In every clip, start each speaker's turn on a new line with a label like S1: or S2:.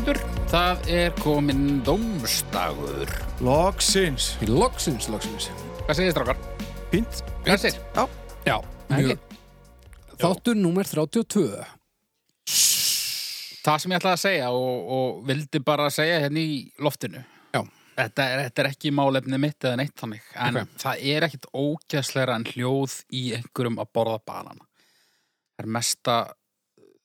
S1: það er kominn dómstagur.
S2: Loksins
S3: Loksins, loksins
S1: Hvað segir þið, strákar?
S2: Fínt
S1: Hvað segir?
S2: Já
S3: Já, mjög Þáttur númer 32
S1: Það sem ég ætlaði að segja og, og vildi bara segja hérna í loftinu.
S3: Já.
S1: Þetta er, þetta er ekki málefni mitt eða neitt þannig. En
S3: Ok.
S1: það er ekkit ógæsleira en hljóð í einhverjum að borða banana. Það er mesta,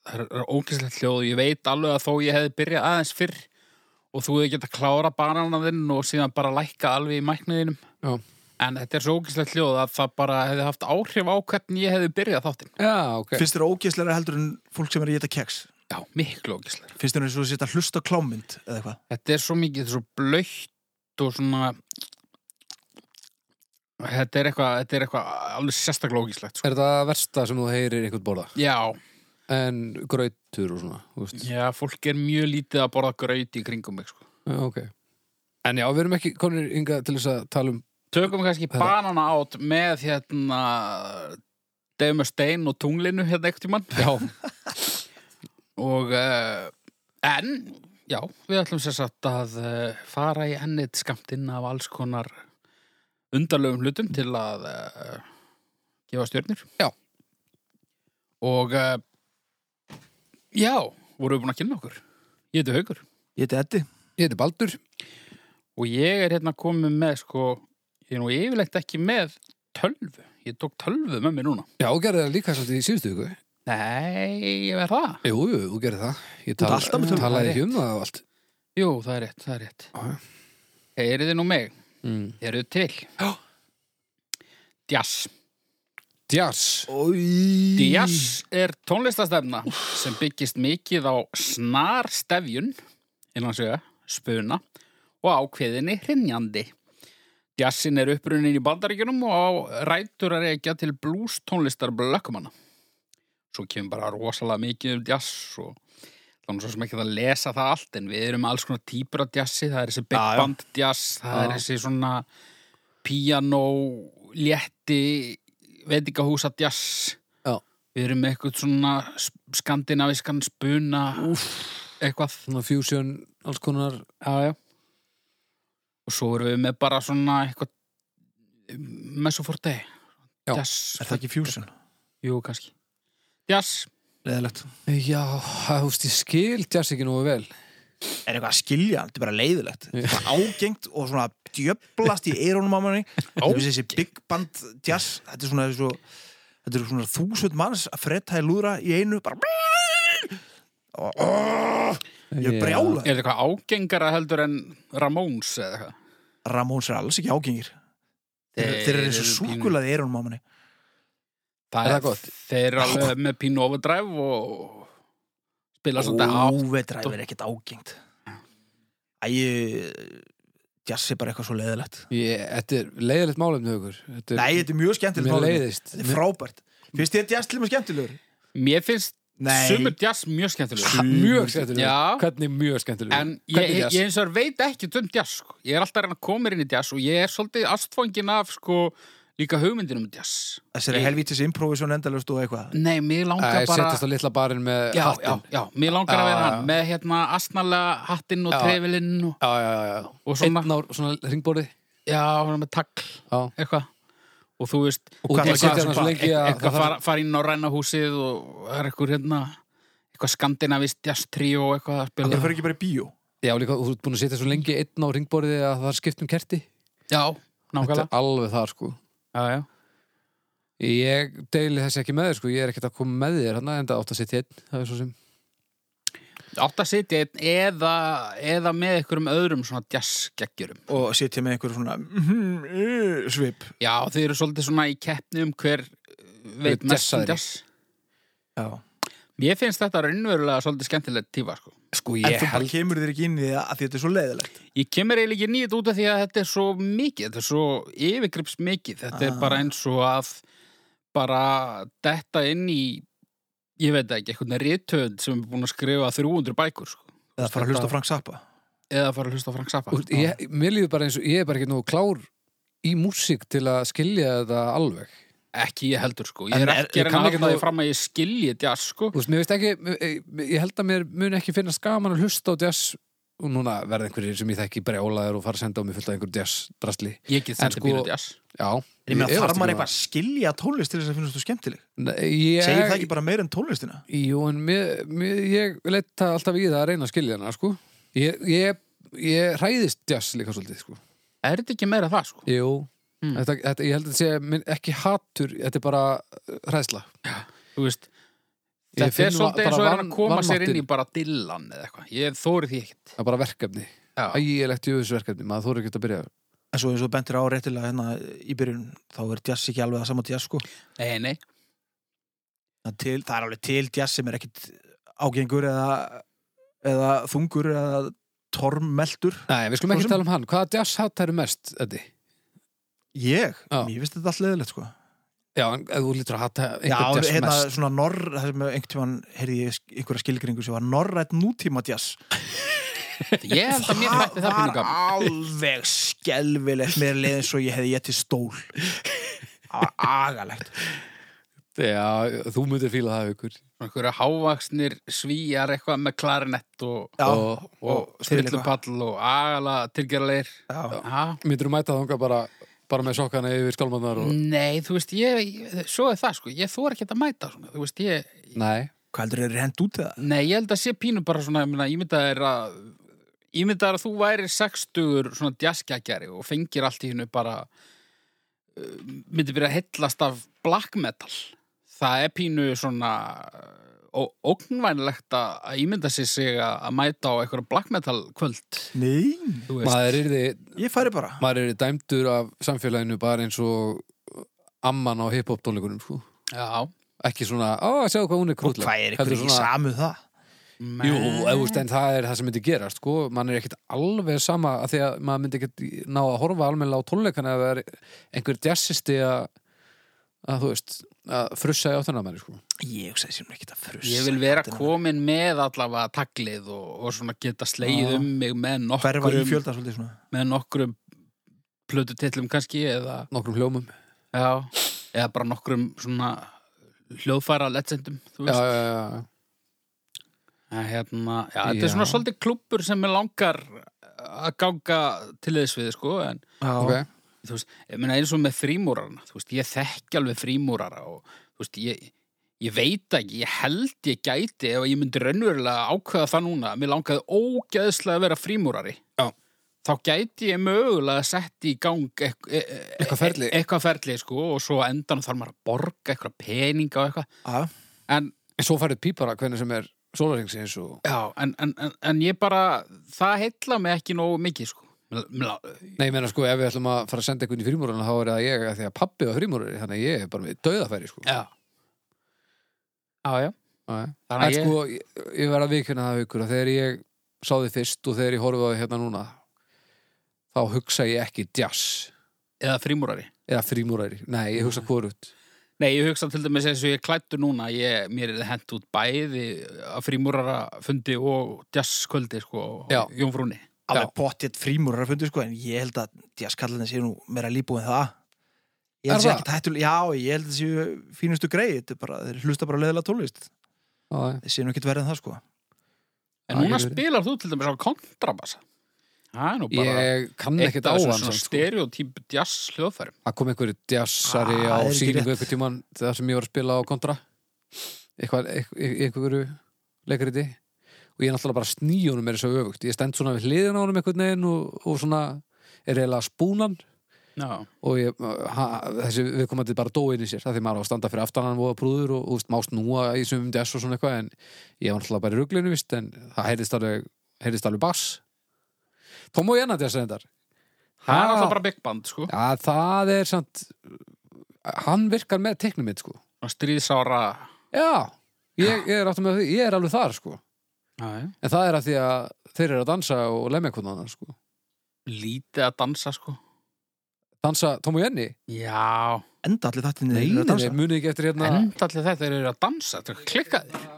S1: það er ógæslegt hljóð. Ég veit alveg að þó ég hefði byrjað aðeins fyrr og þú hefði getað klára banana þinn og síðan bara lækka alveg í mæknuðinum.
S3: Já.
S1: En þetta er svo ógæslegt hljóð að það bara hefði haft áhrif á hvernig ég hefði byrjað þáttinn.
S3: Já, ok
S2: Finnst þér ógeðslega heldur en fólk sem er í þetta keks
S1: Já, miklu ógæsleira.
S2: Finnst þér eins og þú sétt að hlusta á klámynd eða eitthvað
S1: Þetta er svo mikið, þetta er svo blöytt og svona Þetta er eitthvað, þetta er eitthvað alveg sérstaklega ógíslegt sko.
S3: Er það versta sem þú heyrir einhvern borða?
S1: Já,
S3: En grautur og svona, þú veist
S1: já, fólk er mjög lítið að borða graut í kringum mig sko.
S3: Já, ok En já, við erum ekki konir ynga til þess að tala um
S1: Tökum kannski
S3: Þetta-
S1: banana átt með hérna Deimur Stein og tunglinu hérna ekkert í mann
S3: Já,
S1: og uh, en, já, við ætlum sérsagt að uh, fara í ennit skamtinn af alls konar undarlegum hlutum til að uh, gefa stjörnir
S3: Já.
S1: og uh, já, vorum við búin að kynna okkur ég heiti Haugur
S2: Ég heiti Eddi
S3: ég heiti Baldur
S1: og ég er hérna komið með sko, ég er nú yfirleitt ekki með tölvu, ég tók tölvu með mér núna
S3: Já, þú gerði það líka svolítið í síðustu ykkur
S1: Nei, ég verð það
S3: Jú, jú, þú gerði það Ég
S2: ert alltaf með tölvu, það
S3: talaði
S2: er
S3: ekki um það og allt
S1: Jú, það er rétt, það er rétt
S3: Já, já.
S1: Heyrið þið nú mig,
S3: mm.
S1: eruð þið til?
S3: Já.
S1: Djass
S3: Djars
S1: Jazz er tónlistastefna sem byggist mikið á snar stefjun, innan segja, spuna og ákveðinni hrinnjandi. Jazzin er upprunin í bandaríkjunum og á rætur að reykja til blues tónlistar blökkumanna. Svo kemur bara rosalega mikið um jazz og það er nú svo sem ekki að lesa það allt en við erum með alls konar típur af jazzi, það er þessi big
S2: Já, já.
S1: band jazz, það
S3: Já.
S1: er þessi svona piano, létti, veitingahúsa jazz Við erum með eitthvað svona s- skandinavískan spuna Úf. eitthvað.
S3: Svona fusion, alls konar
S1: Já, já. Og svo erum við með bara svona eitthvað mesoforte.
S3: Já.
S1: Jazz.
S2: Er það ekki fusion?
S1: Jú, kannski. Jazz.
S2: Leðilegt
S3: Já, þú veist, ég skil djars ekki nógu vel
S2: Er eitthvað að skilja, þetta er bara leiðilegt Þetta er ágengt og svona djöblast í eirónum á manni Þetta er þessi big band jazz Þetta er svona þessu Þetta eru svona þúsund manns að fretta í lúðra í einu bara og, og, Ég
S3: Já.
S2: er brjála
S1: Er þetta eitthvað ágengara heldur en Ramones eða eitthvað?
S2: Ramóns er alls ekki ágengir Þeir,
S1: Þeir
S2: þeir eru eins og
S1: eru pínu-
S2: súkulaði eirónum á manni
S1: Það
S3: er það gott?
S1: Þeir eru alveg með pínu overdrive og spila svolítið á.
S2: Óvedræf er ekkert ágengt Æ, jazz er bara eitthvað svo leiðilegt
S3: Ég, þetta er leiðilegt málefni ykkur Þetta er,
S2: Nei, þetta er mjög skemmtilegt
S3: mér
S2: málefni.
S3: leiðist
S2: Þetta er frábært Finnst þér jazz til með skemmtilegur?
S1: Mér finnst
S2: Nei.
S1: sumur jazz mjög skemmtilegur.
S3: Ha, Mjög skemmtilegur
S1: Já.
S3: Hvernig mjög skemmtilegur
S1: En ég,
S3: Hvernig
S1: ég,
S3: jazz?
S1: ég eins og er veit ekki um jazz sko. Ég er alltaf að reyna að koma mér inn í jazz og ég er svolítið astfangin af sko, líka hugmyndin um jazz
S2: Þessari
S1: Ég-
S2: helvítis improvisjón endalust og eitthvað
S1: Nei, mér langar
S3: Æ,
S1: bara
S3: settast á litla barinn með
S1: já, já,
S3: hattinn.
S1: já, mér langar að vera
S3: Já,
S1: hann
S3: já.
S1: með hérna asnalega hattinn og
S3: Já.
S1: trefilinn og,
S3: já, já, já, já.
S1: og svona,
S3: Einn á svona ringborði
S1: já, hann er með tagl
S3: Já.
S1: eitthvað og þú veist,
S2: Og hvað-
S3: Ég
S2: hvað-
S3: seti hann svo
S2: hvað-
S3: lengi að
S1: eitthvað fara, fara inn á ræna húsið og það er eitthvað hérna eitthvað skandinavist jazz trio og eitthvað að
S2: Það
S1: spila
S2: fyrir ekki bara í bíó
S3: Já, líka, þú ert búin að setja svo lengi einn á ringborði að það er skipt um kerti
S1: Já,
S3: Þetta
S1: nákvæmlega
S3: er alveg þar, sko
S1: Já, já
S3: Ég deili þessi ekki með þér, sko Ég er ekkert að koma með þér hann en það átt að setja einn Það er svo sem
S1: átt að sitja einn eða, eða með einhverjum öðrum svona jazzgeggjurum.
S2: og sitja með einhver svona mhm, eh, svip
S1: Já, þið eru svolítið svona í keppni um hver eh, veit
S3: Hver
S1: mest um
S3: jazzaðri.
S1: jazz.
S2: Já.
S1: Mér finnst þetta raunverulega svolítið skemmtilegt tífa, sko.
S3: Sko,
S2: En þú bara kemur þér ekki inn í það að því þetta er svo leiðilegt
S1: Ég kemur eiginlega ekki nýtt út af því að þetta er svo mikið, þetta er svo yfirgrips mikið. Þetta er
S2: Ah.
S1: bara eins og að bara detta inn í, ég veit það ekki, einhvern rítöð sem er búin að skrifa 300 bækur, sko.
S2: Eða fara að hlusta á Frank Zappa
S1: Eða fara að hlusta á Frank Zappa.
S3: Úst, ég, Mér líður bara eins og Ég er bara ekki nógu klár í músík til að skilja þetta alveg
S1: Ekki ég heldur, sko. Ég
S2: En
S1: er
S2: er-
S1: ekki að
S3: ég
S1: reyna
S3: kann
S1: að
S3: ekki
S1: halda því
S3: nú-
S1: fram að ég skilji jazz, sko.
S3: eh, Þú veist, mér veist ekki, ég- ég held að mér mun ekki finnast gaman að hlusta á jazz og núna verða einhverjir sem ég þekki brjálaður og fara að senda á mig fullt af einhverjum jazz drastli
S1: Ég get
S3: En
S1: sendið
S3: sko-
S1: sko, mínu jazz.
S3: Já
S2: En ég meina,
S3: efast
S2: þarf maður
S3: ekki um
S2: eitthvað að skilja tónlist til þess að finnast þú skemmtileg?
S3: það. Nei, Ég,
S2: Segir það ekki bara meir en tónlistina?
S3: Jú, en mér, mér, ég leita alltaf í það að reyna að skilja hana, sko Ég, ég, ég hræðist jazz líka svolítið, sko
S1: Er þetta ekki meira það, sko?
S3: Jú
S1: Mm.
S3: þetta, þetta, Ég held að þetta sé minn- ekki hatur, þetta er bara uh, hræðsla
S1: Þú veist,
S3: Ég
S1: þetta er
S3: finn
S1: svolítið
S3: bara
S1: eins og er hann
S3: van-
S1: að koma sér
S3: vanmáttinn.
S1: inn í bara dillan eða eitthvað. Ég þóri því ekkert.
S3: Það er bara verkefni,
S1: Já.
S3: ægilegt jöfusverkefni maður þóru ekki að byrja
S2: En svo eins og þú bentir á réttilega hérna í byrjun, þá er jazz ekki alveg að sama jazz sko.
S1: Nei, nei.
S2: Það, til, það er alveg til jazz sem er ekkit ágengur eða, eða þungur eða tormeltur.
S3: Nei, við skulum
S2: Svo
S3: ekki
S2: sem-
S3: tala um hann, hvaða jazz hatar mest, Eddi?
S2: Ég?
S3: Já.
S2: Mér finnst þetta alltaf leðilegt sko.
S3: Já, en ef þú lítur að hata
S2: Já,
S3: einhvern jazz
S2: hérna
S3: mest
S2: svona norr, það sem einhvern tímann heyrði ég sk- einhverja skilgringu sem var norrætt nútíma jazz.
S1: Ég held að mér þætti það pínu
S2: var
S1: gaman.
S2: alveg skelvilegt mér leið eins og ég hefði getið stól. Það var agalegt.
S3: Já, þú myndir fíla það ykkur
S1: Svona einhverja hávaksnir svíjar eitthvað með klarinett og,
S2: Já,
S3: og,
S1: og
S2: spila eitthvað.
S1: spillupall og agala tilgerleir.
S2: Já.
S3: myndir þú mæta þangað bara, bara með sokkana yfir skálmannar
S2: Mm.
S3: og...
S1: Nei, þú veist, ég, ég- svo er það, sko. Ég þóri ekkert að mæta svona. Þú veist, ég,
S3: Nei,
S2: Hvað heldur þeir hend út það?
S1: Nei, ég held að sé pínu bara svona, ég mynda, ég mynda er að ég mynda er að þú væri sextugur svona djaskjækjari og fengir allt í hennu bara uh, myndi byrja að hillast af black metal það er pínu svona og ógnvænlegt að að ímynda sér sig að að mæta á einhverja black metal kvöld
S2: Nei,
S1: þú veist,
S3: maður er þið
S2: ég færi bara.
S3: maður er dæmdur af samfélaginu bara eins og amman á hip-hop tónleikunum sko.
S1: já
S3: ekki svona, á, sjáðu hvað hún er
S2: Og
S3: krútleg
S2: hvað er ykkur ekki samuð það?
S3: Jú, ef þú veist, en það er það sem myndi gerast sko. mann er ekkit alveg sama að því að maður myndi ekkit ná að horfa almennilega á tónleikana ef það er einhver jazzisti að, að þú veist að frussa í áttuna manni sko.
S2: Ég hugsaði sem ekki að frussa.
S1: ég vil vera
S2: Þetta er
S1: komin með allavega taglið og, og svona geta
S2: Já.
S1: slegið um mig með
S2: nú- Hverfa í
S1: nokkrum
S2: fjölda svolítið svona.
S1: með nokkrum plötutillum kannski eða,
S3: nokkrum hljómum
S1: já, eða bara nokkrum svona hljóðfæra legendum þú
S3: já,
S1: veist
S3: já, já, já.
S1: En hérna, já, þetta er
S3: Já.
S1: svona svolítið klúppur sem er langar að ganga til þess við sko, en
S3: ok
S1: þú veist, ég meina eins og með frímúrarna þú veist, ég þekki alveg frímúrara og þú veist, ég, ég veit ekki ég held ég gæti ef ég myndi raunverulega ákveða það núna mér langaði ógeðslega að vera frímúrari
S3: Já.
S1: þá gæti ég mögulega sett í gang eitth e e
S3: Eitthvað ferli.
S1: e eitthvað ferli sko, og svo á endanum þarf maður að borga eitthvað peninga og eitthvað
S2: Já,
S1: en,
S3: En svo færið pípara hvernig sem er sólarhengsins og...
S1: já, en, en, en, en ég bara það heilla mig ekki nógu mikið sko. Mér- mér lá-
S3: Nei, ég meina sko, ef við ætlum að fara að senda einhvern í frímúruna þá er það ég, af því að pappi var frímúrari þannig að ég er bara með döðafæri sko.
S1: já já, já
S3: Já, já.
S1: Þannig
S3: En
S1: að ég-
S3: sko, ég, ég verð að vikuna það haukur að þegar ég sá þið fyrst og þegar ég horfið á þið hérna núna þá hugsa ég ekki jazz
S1: eða frímúrari
S3: eða frímúrari, nei, ég hugsa hvorut
S1: Nei, ég hugsa til dæmis eins og ég klættu núna, ég, mér er hent út bæði að frímúrarafundi og jazzkvöldi, sko,
S3: Já.
S1: og Jónfrúni.
S2: alveg pottitt frímúrar að fundi sko, en ég held að jazzkallinni séu nú meira líbúið en það. Ég held
S3: Er
S2: að sé ekkit hættulega, já, ég held að séu fínustu greið, þetta er bara, þeir hlusta bara leðilega tónlist.
S3: Já,
S2: Þeir séu nú ekkit verið en það sko.
S1: En
S3: Já,
S1: núna
S3: ég veit.
S1: spilar þú til dæmis á kontrabassa. Það er nú bara
S3: ég kann
S1: eitt
S3: ekkert á
S1: af
S3: hann
S1: þessum
S3: samt,
S1: svona
S3: sko.
S1: stereotyp jazz hljóðfærum.
S3: að kom einhverju jazzari
S2: Ah,
S3: á
S2: það er ekki
S3: sýningu
S2: rétt.
S3: einhver tímann þegar sem ég var að spila á kontra eitthvað, eitthvað, einhverju leikariti og ég er náttúrulega bara sníunum er þessu öfugt ég stend svona við hliðin á honum einhvern veginn og, og svona er eiginlega spúnan
S1: Já.
S3: og ég, ha, þessi viðkomandi bara dó inn í sér það því maður á að standa fyrir aftan hann voða prúður og, og veist, mást núa í sumum jazz og svona eitthvað en ég var náttúrulega bara í ruglinu vist en það heyrðist alveg, heyrðist alveg bass Tom og Jenna jazz reyndar
S1: Það er
S3: Ha.
S1: alltaf bara big band, sko.
S3: Já, það er samt hann virkar með teiknum mitt sko
S1: Og stríðsára.
S3: Já, ég, ég er áttum með því ég er alveg þar sko
S1: Já, já.
S3: en það er að því að þeir eru að dansa og lemja hvernig annar sko
S1: Lítið að dansa, sko.
S3: Dansa Tom og Jenny
S1: Já.
S2: Enda allir þættinni
S3: Nei,
S2: þeir eru að dansa.
S3: nei, munið ekki eftir hérna
S1: Enda allir þetta þeir eru að dansa. Þetta er klikkaðir.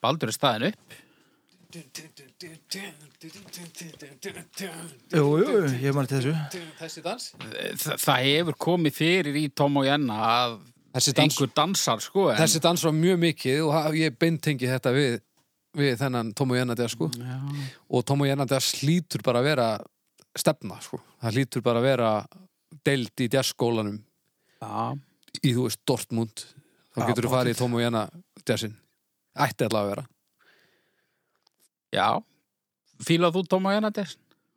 S1: Baldur er staðin upp.
S2: Jú, jú, jú, ég mani til þessu.
S3: Þessi dans
S1: Þa, það hefur komið fyrir í Tom og Jenna að
S3: Þessi dans,
S1: einhver dansar, sko. En...
S3: þessi dans var mjög mikið og ha- ég beintengi þetta við við þennan Tom og Jenna Jazz sko
S1: Já.
S3: og Tom og Jenna Jazz hlýtur bara að vera stefna sko, það hlýtur bara að vera deild í jazzskólanum
S1: Já.
S3: í þú veist Dortmund
S2: Já,
S3: þá getur þú
S2: pottet.
S3: farið í Tom og Jenna jazzin ætti allavega að vera
S1: Já. Fílað þú Tóma Jannadess?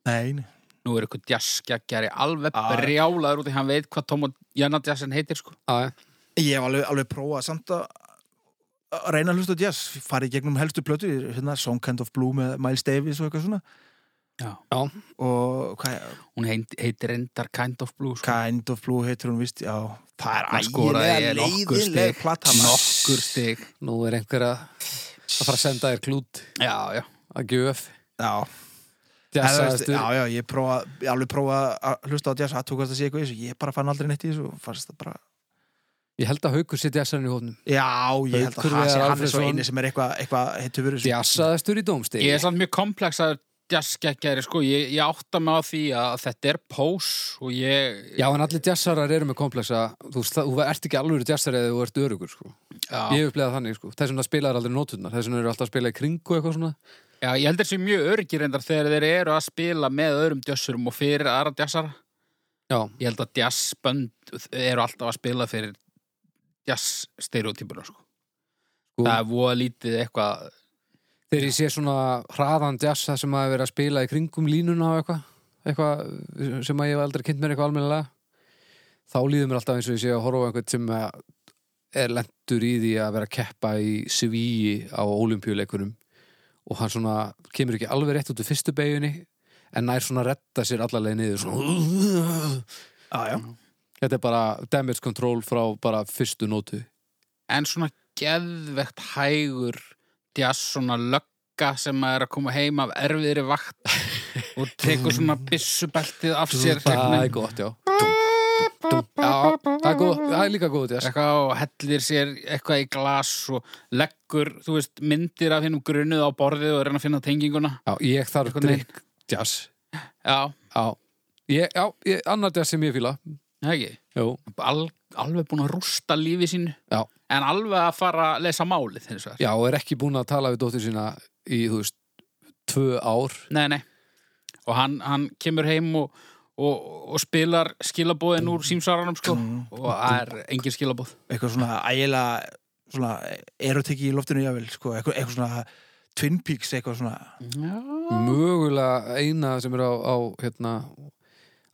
S2: Nei, nei.
S1: Nú er ykkur djaskjaggjari alveg
S2: Já.
S1: brjálaður út í hann veit hvað Tóma Jannadessin heitir sko.
S3: Já, já.
S2: Ég hef alveg, alveg prófað samt að að reyna að hlusta á jazz, farið gegnum helstu plötu, hérna, Song Kind of Blue með Miles Davis og eitthvað svona
S3: Já.
S2: og hvað,
S1: Hún heit- heitir Endar Kind of Blue sko.
S2: Kind of Blue heitir hún vist, já það er
S1: Hann skoraði
S2: ægilega
S1: nokkur
S2: leiðileg
S1: stig.
S2: plata maður.
S1: Nokkur stig.
S3: nú er einhver að að fara að senda þér klút
S1: Já, já.
S3: að gjöf
S2: Já, En þú veist,
S3: jazzaðastu
S2: já, já, ég prófa, ég alveg prófa að hlusta á jazz, aðtókast að sé eitthvað í þessu, ég bara fann aldrei neitt í þessu og fannst það bara,
S3: ég held að haukur sé jazzarinn í hófnum
S2: já, ég held
S3: Haukur
S2: að hann sé
S3: Viðar
S2: hann er svo
S3: Alfreðsson.
S2: eini sem er eitthvað eitthva hittu fyrir þessu.
S3: jazzaðastur í dómstegi
S1: Ég er samt mjög komplexaður djaskjaggjari sko. Ég, ég átta mig á því að þetta er pós og ég...
S3: Já, en allir jazzarar eru með komplexa þú, veist, það- þú ert ekki alveg jazzar eða þú ert örugur sko.
S1: Já.
S3: ég hef upplegað þannig, sko. þess vegna spilaðar aldrei nótunar þess vegna eru alltaf að spila í kringu eitthvað svona
S1: Já, ég heldur þessi mjög örgir reyndar þegar þeir eru að spila með öðrum djassurum og fyrir aðra djassara.
S3: Já,
S1: Ég held að djassbönd eru alltaf að spila fyrir djassstereotypuna, sko.
S3: sko,
S1: Það er voða lítið eitthvað,
S3: þegar ég sé svona hraðan jazz það sem að vera að spila í kringum línuna og eitthvað, eitthvað sem að ég hef aldrei kynnt mér eitthvað almennilega þá líður mér alltaf eins og ég sé að horfa á einhvern sem að er lendur í því að vera að keppa í svíi á olimpíuleikunum og hann svona kemur ekki alveg rétt út úr fyrstu beigunni en nær svona retta sér allarlega niður svona
S2: Já, já,
S3: Mhm. Þetta er bara damage control frá bara fyrstu nótu.
S1: en svona geðvegt hægur djass, svona lögga sem að er að koma heim af erfiðri vakt og tekur svona byssubeltið af sér
S3: Það er
S1: gegnum-
S3: gott, já. Dum, dum, já, það er, góð, það er líka góð, já.
S1: eitthvað og hellir sér eitthvað í glas og leggur, þú veist, myndir af hinnum grunuð á borðið og reyna að finna tenginguna.
S3: Já, ég þarf
S1: Einhvern veginn.
S3: drikk jazz.
S1: Já,
S3: Já, ég, já, ég, annar jazz sem ég fíla.
S1: það ekki.
S3: Jú,
S1: al, alveg búin að rústa lífi sínu
S3: Já.
S1: en alveg að fara að lesa málið hins vegar.
S3: já, og er ekki búin að tala við dóttir sína í, þú veist, tvö ár.
S1: Nei, nei. Og hann, hann kemur heim og, og, og spilar skilabóðin úr símsvaranum sko og það er engin skilabóð.
S2: Mhm. eitthvað svona ægilega, svona erotiki í loftinu jável, sko, eitthvað, eitthvað svona Twin Peaks, eitthvað svona,
S3: Mm-hmm.
S1: Já.
S3: Mögulega eina sem er á, á hérna,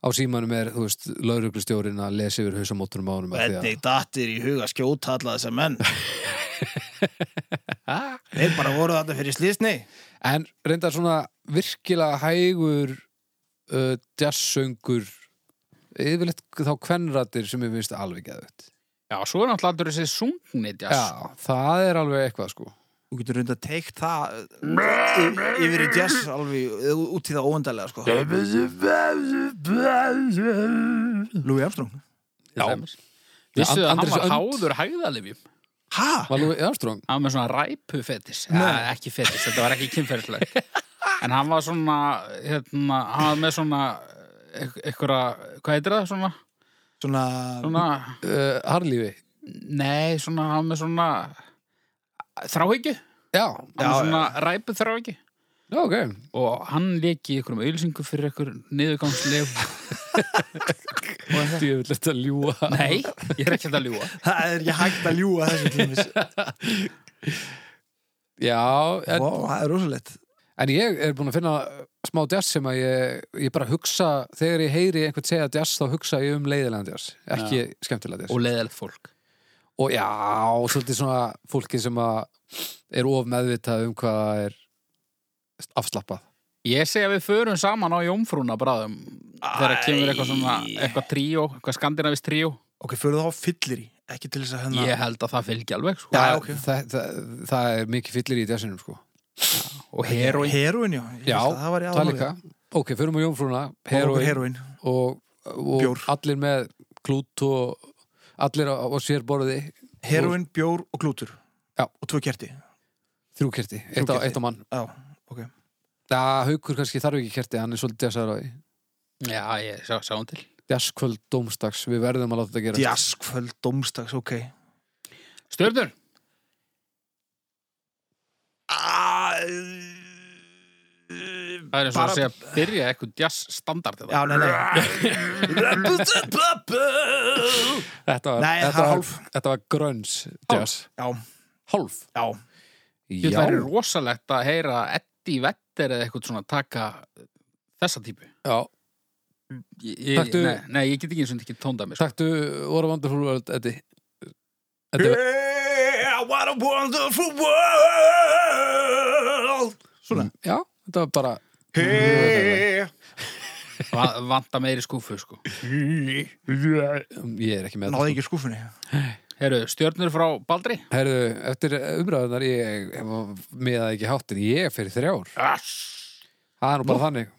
S3: á símanum er, þú veist, lauruglustjórin að lesa yfir hausamótunum á honum. af því að-
S2: hvernig dattir í huga skjóta alla þessa menn. Þeir bara voru þetta fyrir slísni.
S3: En reyndar svona virkilega hægur uh, jazzsöngur yfirleitt þá kvenratir sem ég finnst alveg geðvægt.
S1: Já, svo er náttúrulega allur þessi sungnið, jás.
S3: Já, það er alveg eitthvað sko.
S2: Þú getur reynd að teikt það y- yfir í jazz alveg eh, út í það óendalega, sko. Louis Armstrong.
S1: Já. Vissu
S3: And-
S1: að hann
S3: Andrés
S1: var
S3: Önd.
S1: háður hæðalifjum.
S2: Hæ?
S3: Var Louis Armstrong?
S1: Hann var með svona ræpu fetis.
S2: Nei.
S1: Ja, ekki fetis, þetta var ekki kynferðislega. en hann var svona, hérna, hann var með svona, eitthvað, hvað heitir það, svona,
S2: Svona,
S1: svona,
S3: Uh, Harlífi?
S1: Nei, svona, hann með svona þráhyggju,
S3: Já,
S1: hann
S2: Já,
S1: með svona ræpu þráhyggju
S3: já, ok.
S1: og hann leki í einhverjum auðlýsingu fyrir einhver niðurgangsleg
S3: Ég vil þetta ljúa.
S1: Nei, ég er ekki að ljúga
S2: það er ekki hægt að ljúa þessu tímis.
S3: Já, en,
S2: Vá, það er rosalegt.
S3: en ég er búin að finna smá jazz sem að ég, ég bara hugsa, þegar ég heyri einhvern segja jazz þá hugsa ég um leiðilegan jazz, ekki skemmtilega jazz.
S1: og leiðilegt fólk
S3: og já, svolítið svona fólki sem að er of meðvitað um hvað það er afslappað
S1: Ég segi að við förum saman á Jómfrúna bráðum þegar kemur eitthvað svona
S2: Æ.
S1: eitthvað tríó, eitthvað skandinavist tríó
S2: Ok, fyrir þá fyllir í, ekki til þess að hérna...
S1: Ég held að það fylgi alveg sko.
S2: Já,
S3: það,
S2: ok.
S3: það, það, það er mikið fyllir í jazzinum sko.
S1: og heroin
S2: Heroin, já. Ég
S3: Já,
S2: held að það var í
S3: það líka ok, förum við Jónfrúna,
S2: Heroin.
S3: heroin
S2: Heroin.
S3: og, og
S2: Bjór.
S3: allir með klút og allir á, á sér borði
S2: Heroin, bjór og glútur.
S3: Já.
S2: Og tvö kerti.
S3: þrjú kerti, eitt á,
S2: kerti.
S3: eitt á mann
S2: Já, ok.
S3: Já, haukur kannski þarf ekki kerti, hann er svolítið jazzaður á því
S1: Já, ég sá, sá hún til
S3: jazzkvöld dómstags, við verðum að láta þetta gera
S2: Jaskvöld, domstags, ok.
S1: Stjörnur,
S2: Ah,
S1: Það er eins og
S2: Bara-
S1: að segja að byrja eitthvað jazz standard
S2: Já, nei, nei
S3: Þetta var,
S2: Nei, það
S3: þetta
S2: er
S3: var,
S2: hálf.
S3: þetta var grönns jazz.
S2: Já,
S3: Hálf?
S2: já
S1: Þetta væri rosalegt að heyra Eddie Vedder eða eitthvað svona taka þessa típu
S3: já.
S1: Ég- ég-
S3: Taktu-
S1: nei, nei, ég get ekki eins og ekki tóndæmi sko.
S3: Takktu What a Wonderful World, Eddi. Eddi
S2: Yeah, what a wonderful world Svona
S1: Mm.
S3: já, þetta var bara,
S2: Hey
S1: Va- Vanta meiri skúfu sko.
S3: ég er ekki með
S2: Náði
S3: sko.
S2: ekki skúfunni
S1: Heru, stjörnur frá Baldri
S3: Herðu, eftir umræðunar ég miðaði ekki hátt en ég fyrir þrjár
S1: Ass.
S3: Það er nú bara þannig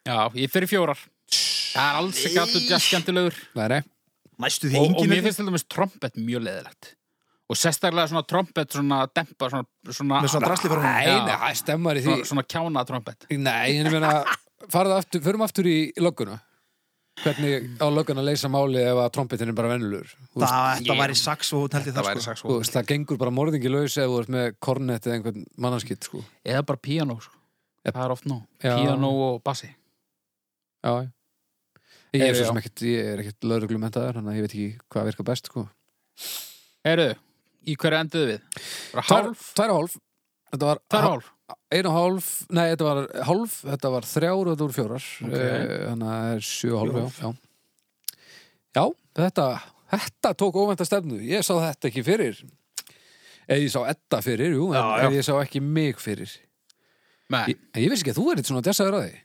S1: Já, ég fyrir fjórar Það er alls ekki allur jazz skemmtilegur
S3: Nei, nei,
S2: Næstu því
S1: og, og
S2: engin
S1: mér finnst til dæmis trompet mjög leðilegt og sérstaklega svona trompet svona dempa svona, svona,
S2: Með svona drasli fyrir honum.
S3: nei, nei, það stemmar í því
S1: svona, svona kjána trompet
S3: Nei, en ég meina farðu aftur, förum aftur í lögguna Hvernig á lögguna leysa máli ef að trompetin er bara vennulur Þú veist,
S2: Það þetta
S1: ég-
S2: væri sax og tælti
S1: það
S2: það
S1: væri
S2: sko
S3: þú
S1: saxofón
S3: veist, það gengur bara morðingi laus ef þú ert með kornett eða einhvern mannarskitt sko.
S1: eða bara piano sko.
S3: Jep.
S1: það er oft nóg,
S3: Já.
S1: piano og bassi
S3: Já, já Ég er,
S1: Heyrðu,
S3: svo sem
S1: já.
S3: ekkert, ég er ekkert lögreglumentaður þannig að ég veit ekki hvað virkar best sko.
S1: Heyrðu, í hverju enduðu við? Bara
S3: Tvær
S1: hálf?
S3: tvær og hálf Þetta var
S1: Það er hálf
S3: ein og hálf, nei þetta var hálf þetta var þrjár og þetta voru fjórar
S1: Ok.
S3: Eh, þannig að það er sjö
S2: Sjö
S3: og
S2: og
S3: hálf já, já. já þetta þetta tók óvænta stefnu, ég sá þetta ekki fyrir eða ég sá etta fyrir, jú, en,
S2: Já, já.
S3: en ég sá ekki mig fyrir
S1: Nei,
S3: ég, en ég vissi ekki að þú er eitt svona djassaður að því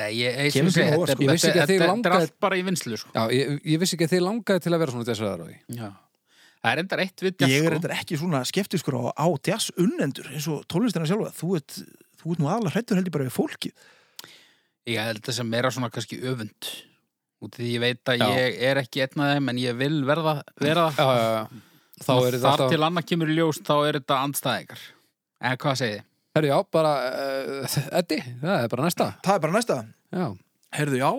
S1: nei ég, ég,
S2: Kemur
S1: ég,
S2: þér á óvart,
S1: þetta,
S2: sko.
S3: Ég vissi ekki að
S1: þetta, þetta,
S3: þig
S1: þetta er
S3: langaði-
S1: allt bara í vinslu sko.
S3: já, ég, ég vissi ekki að þið langaði til að vera svona djassaður að því
S1: Já. Það er endar eitt við jazz,
S2: Ég er
S1: sko.
S2: reyndar ekki svona skeptiskur á, á jazz unnendur eins og tónlistina sjálfa Þú ert, þú ert nú aðalega hrættur heldur bara við fólki
S1: Ég held þess að meira svona kannski öfund Út af því ég veit að
S3: Já.
S1: ég er ekki einn af þeim en ég vil verða, vera það
S3: já, já, já. þá
S1: Og
S3: er þetta
S1: Þar
S3: alltaf
S1: til annað kemur í ljós þá er þetta andstæðingar En hvað segið þið?
S3: herri, já, bara, uh, Eddi, það er bara næsta
S2: Það er bara næsta
S3: já,
S2: Herðu, já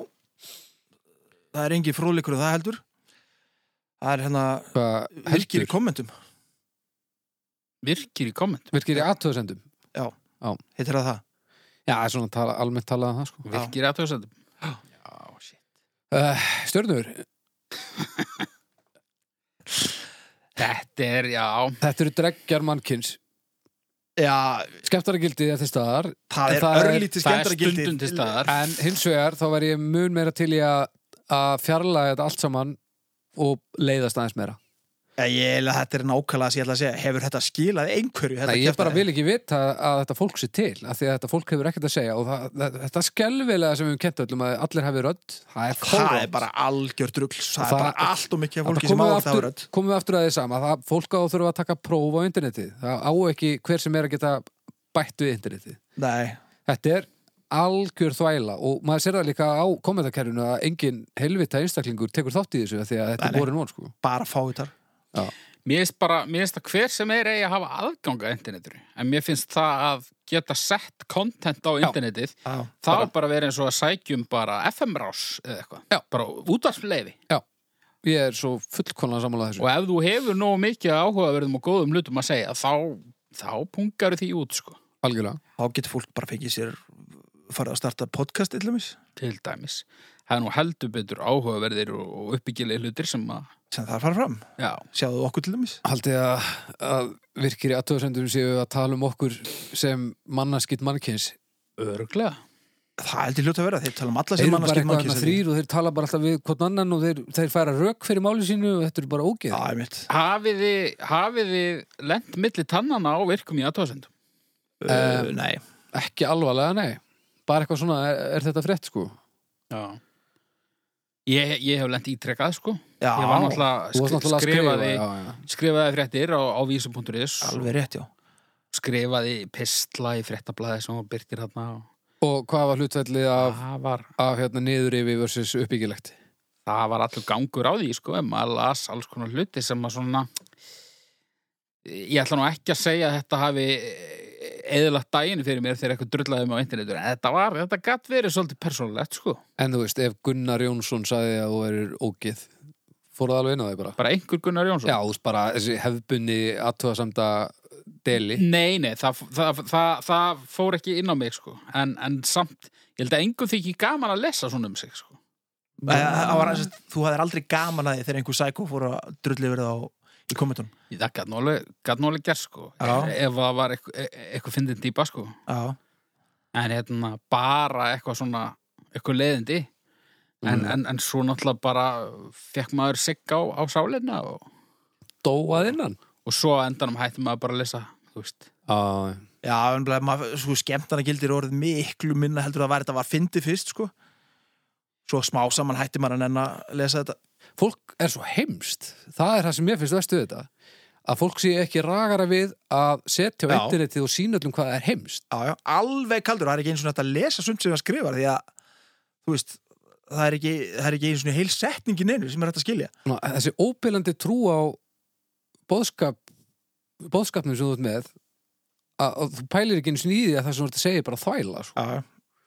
S2: Það er engin fróðleikur og það heldur Það er hérna
S3: hvað
S2: virkir í
S3: heldur
S2: kommentum
S1: Virkir í komment
S3: virkir í aðtöðsendum
S2: Heitir það það?
S3: já, svona tala, almennt talað um það sko
S1: Virkir í aðtöðsendum Já, shit
S3: Uh, stjörnur,
S1: Þetta er, já,
S3: þetta eru dreggjar mannkins
S2: Já,
S3: Skemmtaragildið er til staðar
S2: það
S3: En
S2: er
S3: það er-
S2: örlítið
S1: það er
S2: skemmtara
S1: stundum til staðar
S3: En hins vegar þá væri ég mun meira til í að að fjarlæga þetta allt saman og leiðast aðeins meira
S2: Ég held að þetta er nákvæmlega sem ég ætla að segja Hefur þetta skilað einhverju? þetta
S3: Nei, Ég bara
S2: kjaftæði?
S3: vil ekki vita að þetta fólk sé til af því að þetta fólk hefur ekkert að segja og það, það, þetta skelvilega sem við hefum kent öllum að allir hafi rödd það er
S2: Það er
S3: fáránlegt.
S2: bara algjört rugl Það
S3: Það-
S2: er bara allt og mikið af
S3: Þetta
S2: fólki sem á
S3: komum við
S2: það
S3: aftur-
S2: rödd
S3: komum við aftur að því sama það, fólk á að þurfa að taka próf á internetið það á ekki hver sem er að geta bætt við internetið
S2: Nei,
S3: Þetta er algjör þvæla og maður sér það líka á kommentarkerfinu að engin helvita einstaklingur tekur þátt í þessu af því að þetta
S2: Nei,
S3: er
S2: nei.
S3: borin von sko.
S2: bara fáiðar
S1: Mér finnst bara, mér finnst að hver sem er eigi að hafa aðganga internetinu En mér finnst það að geta sett content á internetið Það er bara að vera eins og að sækjum bara FM-rás eða eitthvað
S3: Já.
S1: Bara útvarfleifi
S3: Ég er svo fullkonlega
S1: Og
S3: samanlega þessu
S1: ef þú hefur nógu mikið áhugaverðum og góðum hlutum að segja þá, þá pungar því út sko
S3: algjörlega.
S2: Þá getur fólk bara fengið sér farið að starta podcast illumis
S1: til dæmis Það er nú heldur betur áhugaverðir og- og uppbyggilegi hlutir sem að
S2: sem það fara fram,
S1: Já,
S2: sjáðu okkur til dæmis
S3: Haldið að, að virkir í aðtöðsendurum séu að tala um okkur sem mannaskitt mannkyns
S1: örglega
S2: það heldur hljóta að vera, þeir tala um alla
S3: Þeir
S2: sem
S3: eru bara
S2: mannarskip
S3: eitthvað þarna þrýr og þeir tala bara alltaf við hvort annan og þeir, þeir færa rök fyrir máli sínu og þetta er bara ógeð
S2: Já, ég mitt
S1: Hafið þið, hafið þið lent milli tannana á virkum í aðtóðsendum?
S2: Uh, nei,
S3: Ekki alvarlega, nei Bara eitthvað svona, er, er þetta frétt sko
S1: Já Ég, ég hef lent ítrekkað sko
S2: já,
S1: Ég var náttúrulega,
S3: Þú varst
S1: sk
S3: náttúrulega að skrifa
S1: skrifaði,
S3: já, já.
S1: skrifaði fréttir á, á vísum.is
S2: alveg rétt, já
S1: skrifaði pistla í fréttablaði sem hún byrkir hérna og
S3: Og hvað var hlutfellið af,
S1: það var,
S3: af hérna, niður yfir versus uppbyggilegt
S1: það var allur gangur á því sko, en maður las alls konar hluti sem að svona ég ætla nú ekki að segja að þetta hafi eðlagt daginn fyrir mér þegar eitthvað drullaði mig á internetur en þetta var, þetta gatt verið svolítið persónulegt sko,
S3: En þú veist, ef Gunnar Jónsson sagði að þú erir ógið, fór það alveg inn á þig bara?
S1: bara einhver Gunnar Jónsson
S3: Já, þú veist bara þessi hefbunni aðtöðasamda deli
S1: Nei, nei, það, það, það, það fór ekki inn á mig, sko. En, en samt, ég held að engum þykir gaman að lesa svona um sig, sko.
S2: Æ, það var aðeins að Þú hafðir aldrei gaman að því þegar einhver sækó fór að drulli verið á í kommentunum
S1: Ég- Það gæt nú alveg, gat nú alveg gert, sko.
S2: Já.
S1: Ef það var eitthvað, e- eitthvað fyndin dýpa, sko.
S2: Já,
S1: En hérna, bara eitthvað svona, eitthvað leiðindi. Mm. En,
S2: Mm.
S1: en, en svo náttúrulega bara fekk maður sigg á, á sálinna og,
S3: dóað innan
S1: og svo á endanum hætti maður bara að lesa, þú veist.
S3: Já,
S2: já en bara, maður, sko, skemmtana gildir orðið miklu minna heldur það var þetta var fyndi fyrst sko. Svo smá saman hætti maður að nenn að lesa þetta
S3: fólk er svo heimst það er það sem mér finnst vestu þetta að fólk sé ekki ragara við að setja á
S2: Já.
S3: internetið og sína öllum hvað er heimst
S2: já, já, alveg kaldur, það er ekki eins og þetta að lesa sumt sem það skrifar því að þú veist, það er ekki, það er ekki eins og heil setningin einu sem er hægt að skilja
S3: Svona, þessi óbylandi trú á boðskap boðskapnum sem þú ert með að, að þú pælir ekki einu sinni í því að það sem þú ert að segja er bara þvæla sko.
S2: já,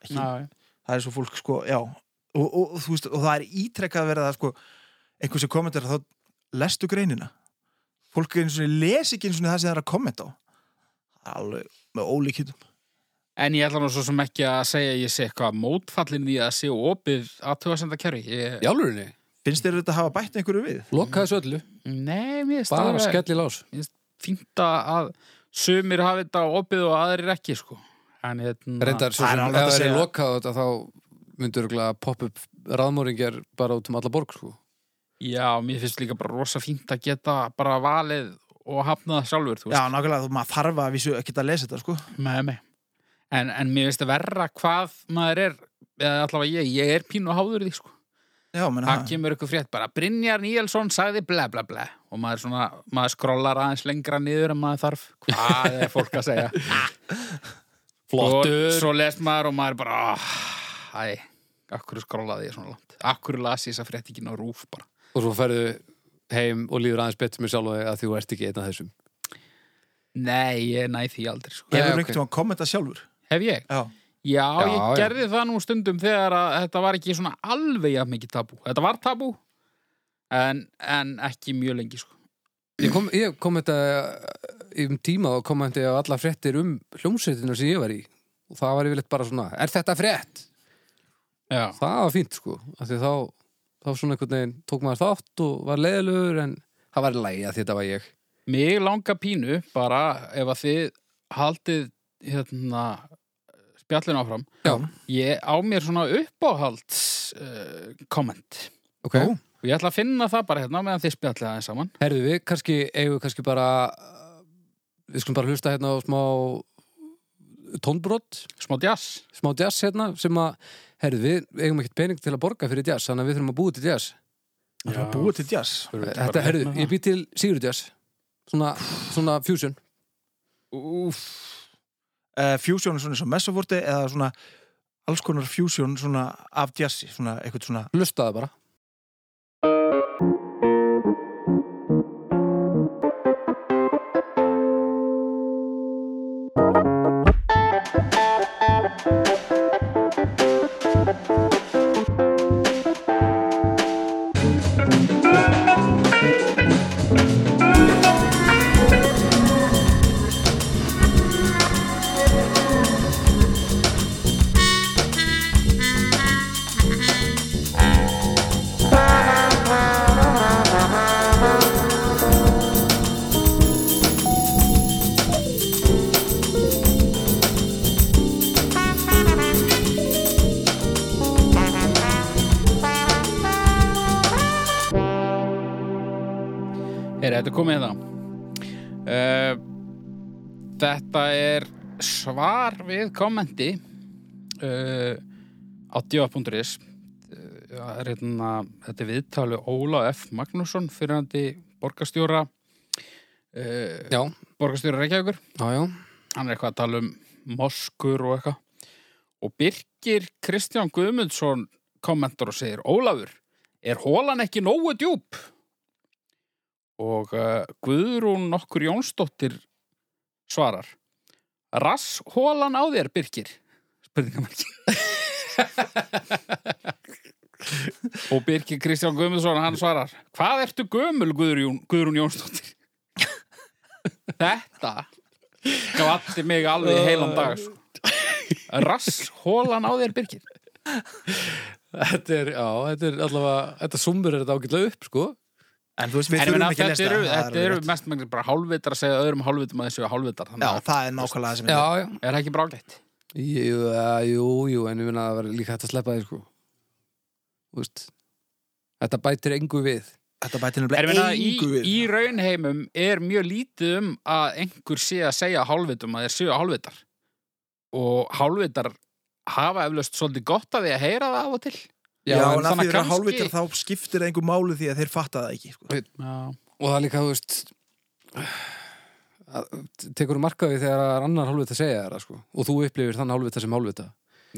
S2: ekki,
S1: Já,
S2: það er svo fólk sko, já og, og, þú veist, og það er ítrekkað að vera það sko, einhversi kommentar þá lestu greinina fólk eins og les ekki eins og það sem það er að kommenta á alveg með ólíkjöndum
S1: En ég ætla nú svo sem ekki að segja að ég sé eitthvað mótfallin í að sé opið aðtöðasenda kerfi. Ég,
S3: í álurinni,
S2: finnst þér þetta hafa bætt einhverju við?
S3: lokka þessu öllu
S1: nei, mér finnst
S3: bara
S1: alveg
S3: skelli lás
S1: fínt að sumir hafi þetta opið og aðrir ekki, sko. En hérna...
S3: reyndar svo
S2: það er
S3: sem
S2: alveg hægt að
S3: ef það er
S2: segja.
S3: lokka þetta þá myndur örugglega poppa upp ráðmóringjar bara út um alla borg sko.
S1: Já, mér finnst líka bara rosa fínt að geta bara valið og hafnað sjálfur, þú
S2: Já,
S1: veist.
S2: nákvæmlega, þú- maður þarf að vissu ekki að lesa þetta sko
S1: Já. Með mig. En, en mér finnst verra hvað maður er, eða allavega ég, ég er pínu háður í því, sko.
S2: Já, menn
S1: Það kemur ykkur frétt bara, Brynjar Níelsson sagði ble ble ble og maður, svona, maður skrollar aðeins lengra niður en maður þarf, hvað er fólk að segja? Og svo les maður og maður bara "Ah, Æ, akkur skrólaði ég svona langt Akkur las ég þess að frétt ekki ná rúf bara
S3: og svo ferðu heim og líður aðeins betur með sjálf að því þú ert ekki einn af þessum
S1: Nei, ég næ því aldrei sko.
S2: Hefur
S3: Nei,
S2: einhvern tímann kommenta sjálfur?
S1: Hef ég?
S2: Já
S1: Já, ég
S3: Já, já.
S1: gerði það nú stundum þegar að þetta var ekki svona alveg jafn mikið tabú Þetta var tabú en, en ekki mjög lengi sko.
S3: Ég kom, ég kom þetta í um tíma og kommenti á alla fréttir um hljómsveitina sem ég var í og það var yfirleitt bara svona, er þetta frétt?
S1: Já,
S3: Það var fínt sko af því þá, þá svona einhvern veginn tók maður þátt og var leiðilegur en það var lægi að þetta var ég
S1: Mig langar pínu bara ef að þið haldið hérna spjallin áfram
S3: Já,
S1: Ég á mér svona uppáhalds uh, komment
S3: ok
S2: Ó.
S1: og ég ætla að finna það bara hérna meðan þið spjallið aðeins saman
S3: Herðu við, kannski, eigum við kannski bara við skulum bara hlusta hérna á smá tónbrott
S1: smá jazz
S3: smá jazz hérna sem að, herðu við, eigum ekkert pening til að borga fyrir jazz þannig að við þurfum að búið til jazz
S2: Það er búið til jazz
S3: Þetta, hérna. herðu, ég být til Sigurdjás Svona, svona fusion
S2: Úf uh, Fusion er svona eins og messavorti eða svona alls konar fusion svona af jazzi, svona eitthvað svona
S3: Lustaðu bara
S1: er þetta er komið hérna uh, þetta er svar við kommenti uh, á djóa.is uh, er hérna, þetta er viðtali Óla F. Magnússon fyrirandi borgarstjóra uh,
S3: Já,
S1: borgarstjóra Reykjavíkur
S3: já, já
S1: hann er eitthvað að tala um moskur og eitthvað og Birgir Kristján Guðmundsson kommentar og segir Ólafur, er hólan ekki nógu djúp? og uh, Guðrún nokkur Jónsdóttir svarar Rass hólan á þér, Birgir? spurningamarki og Birgir Kristján Guðmundsson hann svarar, hvað ertu gömul Guðrún, Guðrún Jónsdóttir? Þetta glatti mig alveg í
S2: Uh,
S1: heilan dag sko. rass hólan á þér Birgir
S3: Þetta er, já, þetta er allavega Þetta sumur er þetta ágætlega upp, sko
S2: En þú veist, við
S1: En ég meina,
S2: þurfum ekki að
S1: þetta
S2: lesta
S1: eru,
S2: það
S1: þetta
S2: alveg
S1: eru
S2: rétt.
S1: mest mengið bara hálfvitar að segja öðrum hálfvitum að þessu hálfvitar
S2: Já,
S1: þannig að
S2: það er nákvæmlega það sem ég
S3: Já, já,
S1: er það ekki bráleitt
S3: jú, eh, jú, jú En við minna að það var líka hægt að sleppa þér, sko Þú veist Þetta bætir engu við
S2: Þetta bætir
S1: Er
S2: nefnilega
S1: meina, í,
S2: engu við
S1: í raunheimum er mjög lítið um að einhver sé að segja hálfvitum að þeir séu hálfvitar og hálfvitar hafa eflaust svolítið gott að því að heyra það af og til
S2: Já,
S3: en
S2: en af því
S3: þannig
S2: þeir eru hálfvitar þá skiptir það engu máli því að þeir fatta það ekki sko.
S1: Já,
S3: og það er líka, þú veist að- tekur markaði þegar það er annar hálfvita að segja þér það, sko. og þú upplifir þann hálfvita sem hálfvita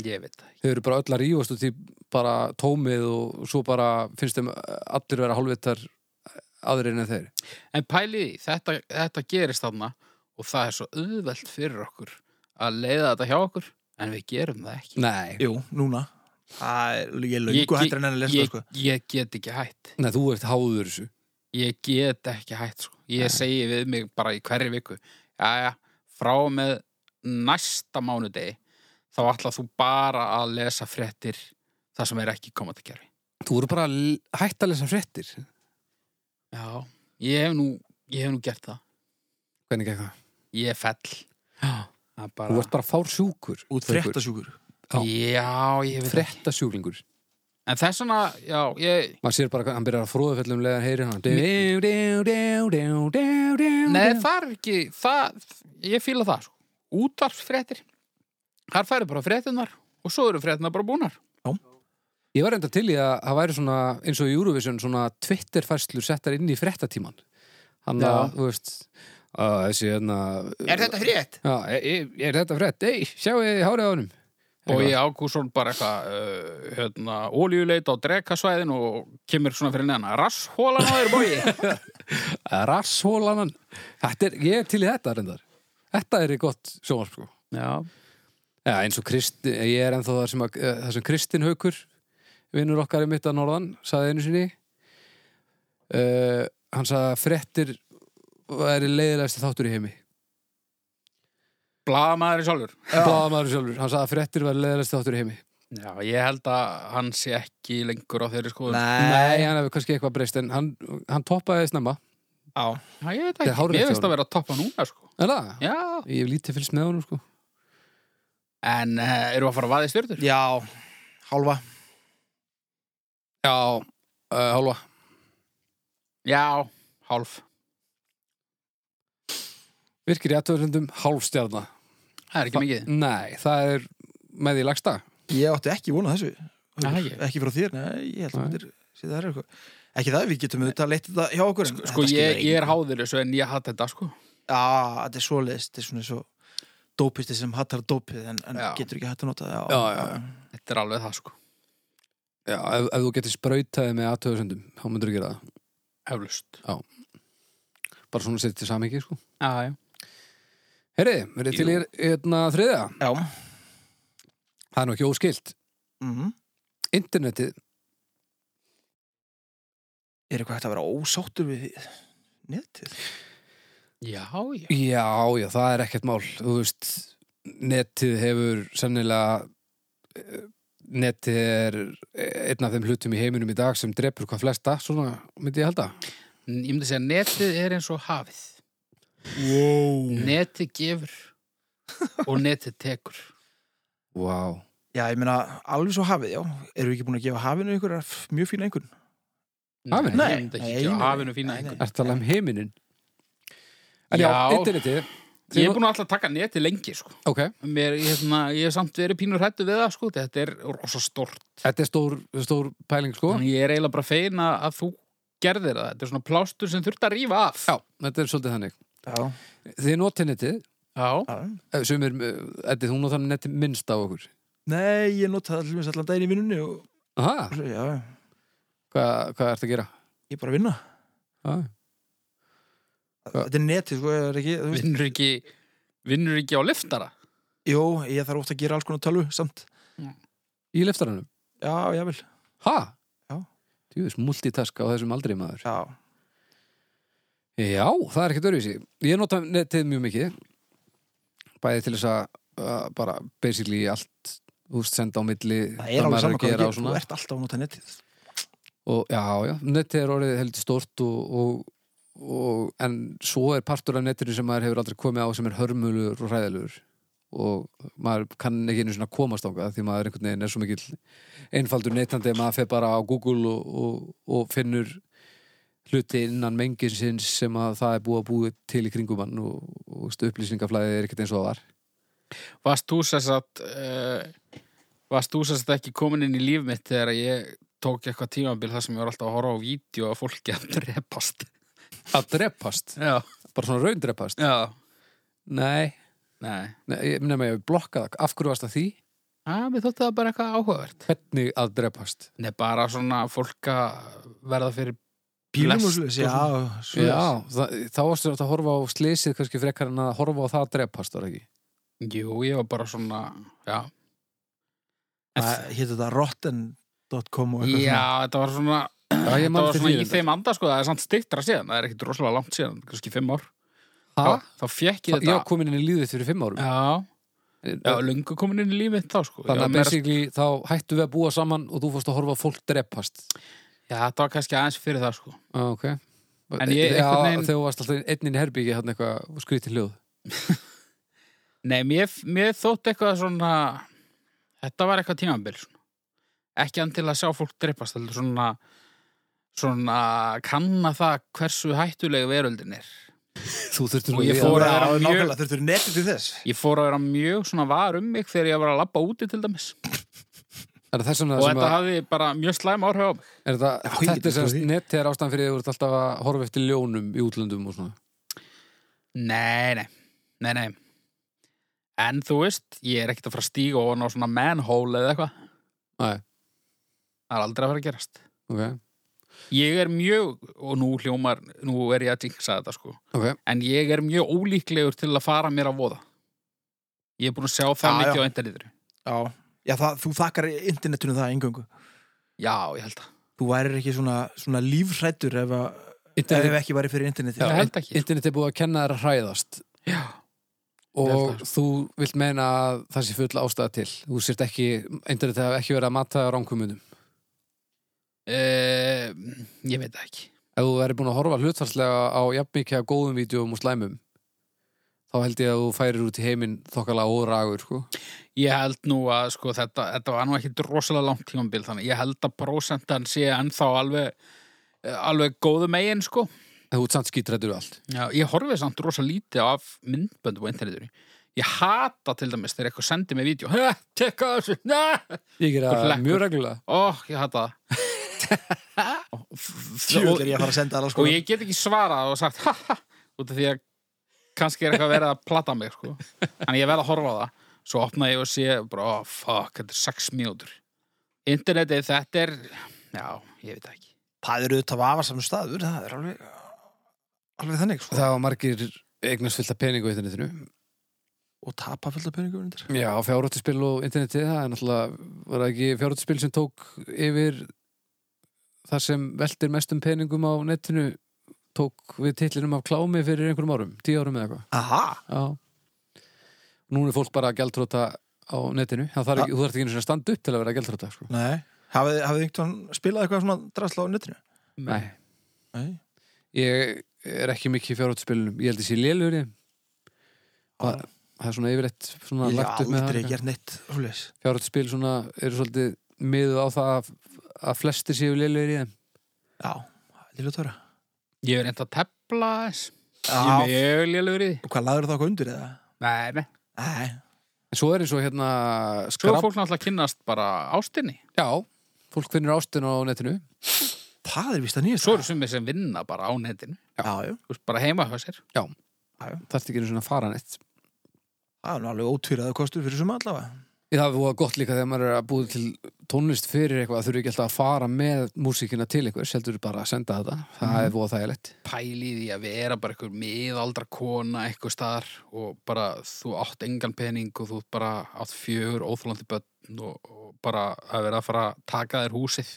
S1: ég veit það ekki.
S3: þau eru bara öll að rífast út í bara tómið og svo bara finnst þeim allir vera hálfvitar aðrir en þeir
S1: En pælið í, því, þetta, þetta gerist þarna og það er svo auðvelt fyrir okkur að leiða þetta hjá okkur en við gerum það ekki
S3: Nei,
S2: Jú, núna Það er, ég er
S1: Ég
S2: löngu
S1: ge-
S2: hættur en enn að lesa það,
S1: ég,
S2: sko.
S1: ég get ekki hætt
S3: Nei þú ert háður þessu
S1: ég get ekki hætt sko. ég segi við mig bara í hverju viku jæja, frá og með næsta mánudegi þá ætla þú bara að lesa fréttir það sem er ekki komandi að gera
S3: Þú eru bara l- hætt að lesa fréttir
S1: já, ég hef nú, ég hef nú gert það
S3: Hvernig ekki það?
S1: ég er fell
S3: Já.
S1: Það er
S3: Þú
S1: bara,
S3: ert bara fár sjúkur
S2: Út fréttasjúkur
S3: já.
S1: já, ég veit það
S3: Fréttasjúklingur
S1: en þess vegna, já, ég
S3: Maður sér bara hvað hann byrjar að fróðufellum leðan heyri hann Deu, deu, deu, deu, deu, deu
S1: Nei, það er ekki, það, ég fíla það sko. Útvarpsfréttir Þar færi bara fréttinar og svo eru fréttinar bara búnar
S3: Ég var reynda til í að það væri svona eins og í Eurovision svona Twitter-færslur settar inn í fréttatíman Hann
S1: Já.
S3: að, þú veist að þessi hérna
S1: þetta frétt?
S3: Já, er, er, er þetta frétt? Ei, sjáu þið hárið á honum
S1: Og ég ákússon bara eitthvað uh, hérna, ólíuleit á drekasvæðin og kemur svona fyrir neðan rasshólan á þér bói
S3: Rasshólanan Þetta er, ég er til í þetta reyndar Þetta er í gott sjónvarp sko
S1: Já,
S3: Já, eins og Krist, ég er ennþá þar sem, að, eh, þar sem Kristin Haukur vinnur okkar í mitt að norðan, saði einu sinni uh, hann sagði að fréttir væri leiðilegasti þáttur í heimi
S1: blaðamaður í sjálfur
S3: Bláðamaður sjálfur, hann sagði að fréttir væri leiðilegasti þáttur í heimi
S1: Já, ég held að hann sé ekki lengur á þeirri skoðun
S3: Nei, hann hefur kannski eitthvað breyst en hann, hann toppaði snemma
S2: Já,
S1: Já, ég veit
S3: Þetta er
S1: ekki,
S3: hárrétt
S1: mér
S3: hjá
S1: veist
S3: honum.
S1: að vera að toppa núna sko.
S3: Er það?
S1: Já,
S3: Ég hef lítið fylgst með honum sko
S1: en uh, eru að fara að vaða í styrtur?
S2: já, hálfa
S3: Já, uh, hálfa
S1: Já, hálf
S3: Virkir í aðtöðsendum hálfstjarna
S1: Það er ekki mikið
S3: Nei, það er með því lagsta
S2: Ég átti ekki vona þessu
S1: Nei, ekki.
S2: Ekki frá þér, nei, ég held
S3: Nei.
S2: að myndir sé það er eitthvað Ekki það, við getum auðvitað leitt þetta hjá okkur en
S1: Sko,
S2: þetta skilur
S1: ég, ég er
S2: enginn.
S1: háður þessu en ég hatt þetta sko
S2: Já, þetta er svoleiðis, þetta er svona svo dópisti sem hattar dópið en, en
S1: Já.
S2: getur ekki hætt að nota það,
S3: Já, já, já.
S1: Þetta er alveg það sko,
S3: Já, ef, ef þú getur sprautaði með aðtöðsendum þá myndur þú gera það
S1: eflust
S3: bara svona sett til samingi sko.
S1: Já, já
S3: Herri, er til í
S1: Jú.
S3: hérna þriðja?
S2: Já,
S3: Það er nú ekki óskilt.
S2: mhm
S3: Internetið,
S2: Er eitthvað hægt að vera ósáttur við netið?
S1: Já, já
S3: já, já, það er ekkert mál. Þú veist, netið hefur sennilega, eh, netið er einn af þeim hlutum í heiminum í dag sem drepur hvað flesta, svona myndi ég halda.
S1: N- Ég myndi segja að netið er eins og hafið
S2: Wow
S1: Netið gefur og netið tekur
S3: Vá. Wow.
S2: Já, ég meina, alveg svo hafið, já Erum við ekki búin að gefa hafinu ykkur f- mjög fína einhvern?
S3: Hafinu?
S1: Nei, ég myndi
S2: Nei,
S1: ekki gefa
S2: nei,
S1: hafinu fína
S2: nei,
S1: einhvern
S3: Er talað um heiminin? En já,
S1: Já.
S3: internetið.
S1: Ég er búin að alltaf taka netið lengi sko
S3: Ok,
S1: Mér, ég, hérna, ég hef samt verið pínur hættu við það sko Þetta er rosa stort
S3: þetta er stór, stór pæling sko.
S1: Þannig ég er eiginlega bara fein að að þú gerðir það Þetta er svona plástur sem þurft að rífa af
S3: Já, þetta er svolítið þannig.
S2: Já,
S3: Þið notið netið, eh,
S1: já.
S2: já
S3: sem er, Eddi, þú notar netið minnst af okkur.
S2: Nei, ég nota það allir allan daginn í vinnunni og
S3: Aha,
S2: svo, já,
S3: hvað, hvað ertu að gera?
S2: ég er bara að vinna
S3: Ah.
S2: Þetta er netið, sko, ég er ekki þú veist.
S1: Vinnur ekki Vinnur ekki á liftara
S2: Jó, ég þarf ofta að gera alls konar tölvu samt
S3: Í leftaranum?
S2: Já, já, vel
S3: Ha?
S2: Já.
S3: Tjúfis, multitask á þessum aldrei maður.
S2: Já,
S3: Já, það er ekkert örvísi. Ég nota netið mjög mikið. bæði til þess að uh, bara basically allt úst, senda á milli
S2: það er alveg
S3: maður
S2: saman
S3: að
S2: hvað
S3: gera
S2: það getur,
S3: og
S2: þú sko.
S3: svona
S2: ert alltaf að nota netið
S3: og já, já, netið er orðið heldur stort og, og, og en svo er partur af netinu sem maður hefur aldrei komið á sem er hörmulur og hræðilur og maður kann ekki einu svona komast ánga því maður einhvern veginn er svo mikill einfaldur neytandi að maður fer bara á Google og, og, og finnur hluti innan menginsins sem að það er búið að búið til í kringum hann og, og veist, upplýsingaflæðið er ekkert eins og það var
S1: Varst þú sess að uh, Varst þú sess að ekki komin inn í líf mitt þegar ég tók eitthvað tímabil þar sem ég var alltaf að horfa á vídeo að fólki að drepast
S3: að drepast,
S1: Já,
S3: bara svona raundrepast
S1: já,
S3: nei,
S1: nei
S3: nei ég- nema ég blokka það, af hverju varst það því?
S1: Já, mér þótti það bara eitthvað áhugavert
S3: hvernig að drepast
S1: Nei, bara svona fólk að verða fyrir
S2: bílum
S1: Lest
S2: og slúðis,
S1: sko.
S2: já, svoleiðis.
S3: Já, það, þá varstu þetta að horfa á slysið kannski frekar en að horfa á það að drepast var ekki
S1: Jú, ég var bara svona Já,
S2: það hétu þetta rotten.com og eitthvað
S1: já þetta var svona
S3: Já, ég
S1: Þetta
S3: man
S1: var
S3: eftir
S1: svona
S3: því
S1: í
S3: reyndar.
S1: þeim anda sko, það er samt styrtra síðan Það er ekkit rosalega langt síðan, kannski fimm ár
S3: Ha?
S1: Þá, þá fekk ég
S3: Ég var
S1: þetta
S3: komin inn í lífið fyrir fimm árum
S1: Já, já,
S3: Þannig
S1: löngu komin inn í líf mitt þá sko Ég var
S3: að
S1: meira-
S3: basically þá hættu við að búa saman og þú fórst að horfa á fólk drepast
S1: Já, þetta var kannski aðeins fyrir það sko
S3: ah, Ok
S1: En ég-
S3: Já,
S1: einhvern veginn-
S3: þegar þú varst alltaf einnin í herbyggi hann eitthvað skrýti hljóð
S1: Nei, mér, mér þótt eitthvað svona Þetta var eitthvað tímabil svona. Ekki hann til að sjá fólk dreipast heldur svona svona kanna það hversu hættulegu veröldin er
S3: Þú þurftur
S1: Og ég
S3: við
S1: fór
S3: að
S1: að-
S2: Já,
S1: vera mjög-
S2: nákvæmlega, þurftur netið til þess
S1: Ég fór að vera mjög svona var um mig þegar ég var að labba úti til dæmis
S3: Er það sem
S1: og
S3: að
S1: þetta hafði bara mjög slæm áhrif á mig
S3: er
S2: Já,
S3: það,
S2: ég get
S3: Þetta er sem
S2: trúið
S3: sagt
S2: því.
S3: netti er ástæðan fyrir því að þú ert alltaf að horfa eftir ljónum í útlöndum og svona
S1: Nei, nei, nei, nei En þú veist, ég er ekkert að fara að stíga ofan á svona manhole eða eitthvað
S3: Nei,
S1: Það er aldrei að fara að gerast
S3: ok,
S1: Ég er mjög, og nú hljómar, nú er ég að jinxa þetta sko
S3: ok
S1: en ég er mjög ólíklegur til að fara mér að voða. Ég er búin að sjá það
S2: Já,
S1: mikið
S2: já.
S1: á internetinu.
S2: já, já það, þú þakkar internetunum það engöngu
S1: Já, ég held það.
S2: þú værir ekki svona, svona lífrættur ef, að-
S3: Internet-
S2: ef ekki væri fyrir interneti
S1: Já. Ég held ekki. sko.
S3: Internet er búið að kenna þér að hræðast
S1: Já. Ég held
S3: og
S1: það,
S3: þú vilt meina að það sé full ástæða til þú sért ekki, eindir þetta ekki verið að mata ránkumundum
S1: Eh, ég veit það ekki.
S3: ef þú verið búin að horfa hlutfarslega á jafn mikið af góðum vídjóum og slæmum þá held ég að þú færir út í heiminn þokkala óragur sko.
S1: Ég held nú að sko, þetta, þetta var nú ekki rosalega langt tímambil þannig. Ég held að prósentan sé ennþá alveg, eh, alveg góðu megin sko.
S3: en þú ert samt skítrættur við allt
S1: Já, ég horfið samt rosa lítið af myndböndum á internetinu. Ég hata til dæmis þegar eitthvað sendir mig vídeo. Hæ, tekka þessu, næ!
S3: ég
S1: Þú
S3: er að
S1: hlekkur.
S3: mjög reglulega
S1: Ó, Oh, ég hata það.
S2: Tjúl er ég að fara að senda alveg
S1: og
S2: sko
S1: ég get ekki svarað og sagt ha ha út af því að kannski er eitthvað verið að platta mig sko. en ég verð að horfa á það svo opna ég og sé bara oh, fuck, þetta er 6 mínútur internetið þetta er já, ég veit það ekki
S2: það eru auðvitað vafarsamur staður það er alveg, alveg þannig sko.
S3: það var margir eignast fullt af peningu í internetinu
S2: og tapa fullt af peningum undir
S3: já, fjárhóttispil og internetið það er náttúrulega, var það ekki fjárhóttispil sem tók yfir þar sem veltir mestum peningum á netinu tók við titlinum af klámi fyrir einhverjum árum, tíu árum eða eitthvað
S2: aha,
S3: Já. Nú er fólk bara að gjaldróta á netinu. Það þarf ekki, þú þarf ekki einu sinni að standa upp til að vera að gjaldróta, sko.
S2: nei hafið hafið þið einhvern spilað eitthvað svona drasla á netinu
S3: Nei.
S2: nei,
S3: Ég er ekki mikið í fjárhóttspilunum. Ég held ég sé lélur í þeim. Og Það það er svona yfirleitt svona
S2: ég
S3: lagt
S2: hef
S3: upp með
S2: aldrei
S3: það.
S2: gert neitt svoleiðis.
S3: Fjárhóttspil svona eru svolítið miðuð á það að, að flestir séu lélur í þeim.
S2: já, lilla tóra
S1: ég er enda að tepla þess ég er
S2: já,
S1: mjög lélugur í því
S2: og hvað laður það okkur undir eða
S1: nei, nei.
S2: nei,
S3: En svo er eins og hérna
S1: svo
S3: skrap...
S1: er fólk náttúrulega að kynnast bara ástinni
S3: Já, fólk finnur ástin á netinu.
S2: það er vist að nýjast
S1: svo eru sumir sem vinna bara á netinu
S2: já, já,
S1: Þú veist, bara heima hjá sér
S3: Það er ekki einu sinni að fara neitt.
S2: það er nú alveg ótvíraðu kostur fyrir suma allavega
S3: Ég, Það er voða gott líka þegar maður er að búið til tónlist fyrir eitthvað, þurfi ekki alltaf að fara með músíkina til eitthvað, heldur bara að senda þetta það
S1: Mhm.
S3: er voða þægilegt.
S1: pæli í því að vera bara einhver miðaldra kona eitthvað staðar og bara þú átt engan pening og þú bara átt fjögur óþólandi börn og, og bara að vera að fara að taka þér húsið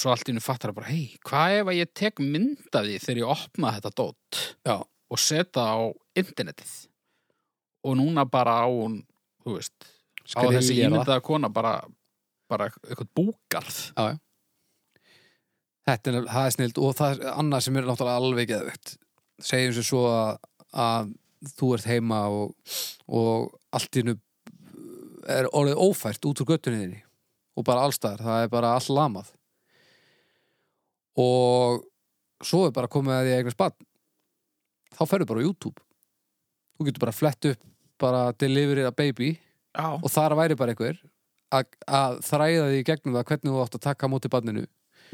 S1: svo allt í henni fattar að bara hei, hvað ef að ég tek mynd af því þegar ég opna þetta dót
S3: Já.
S1: og seta á internetið og núna bara á hún þú veist, á þessi
S3: Skrifa.
S1: ímyndaða kona bara, bara eitthvað búgarð
S3: þetta er, það er snild og það er annað sem er náttúrulega alveg geðvegt segjum sér svo að, að þú ert heima og, og allt innu er orðið ófært út úr göttunni þinni og bara allstaðar, það er bara all lamað og svo er bara komið að því eitthvað spann þá ferðu bara á YouTube þú getur bara flett upp bara delivery a baby
S1: Já,
S3: og þar væri bara einhver að, að þræða því gegnum það hvernig þú átt að taka á móti barninu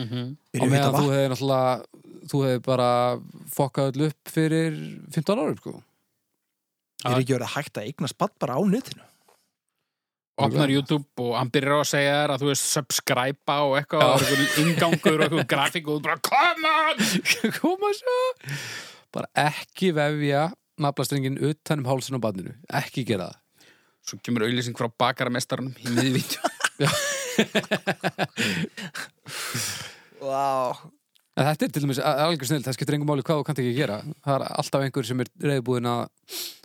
S1: mm
S3: á meðan þú hefði náttúrulega þú hefði bara fokkað öll upp fyrir 15 árum sko
S2: er ekki verið að hægt að eigna spatt bara á netinu
S1: opnar YouTube og hann byrjar á að segja þér að þú veist subscribe og eitthvað og það er einhvern ingangur og einhvern grafík og þú bara come on
S3: koma svo bara ekki vefja naflastrengin utan um hálsinn á barninu ekki gera það
S1: Svo kemur auðlýsing frá bakaramestarunum í miðvítu
S2: Vá
S3: en þetta er til dæmis a- algjör snill það skiptir engum máli hvað þú kannt ekki gera það er alltaf einhver sem er reyðbúin að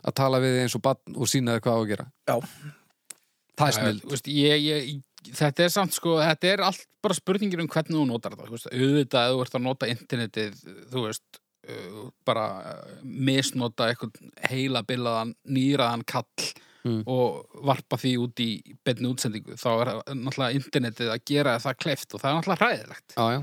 S3: að tala við þig eins og barn og sína þér hvað á að gera
S2: Já.
S3: það er snill
S1: veist, ég, ég, Þetta er samt sko, þetta er allt bara spurningir um hvernig þú notar það þú veist, auðvitað að þú ert að nota internetið þú veist, uh, bara uh, misnota eitthvað heilabilaðan nýraðan kall
S3: Mm.
S1: og varpa því út í betni útsendingu, þá er náttúrulega internetið að gera það kleift og það er náttúrulega hræðilegt
S3: já, já.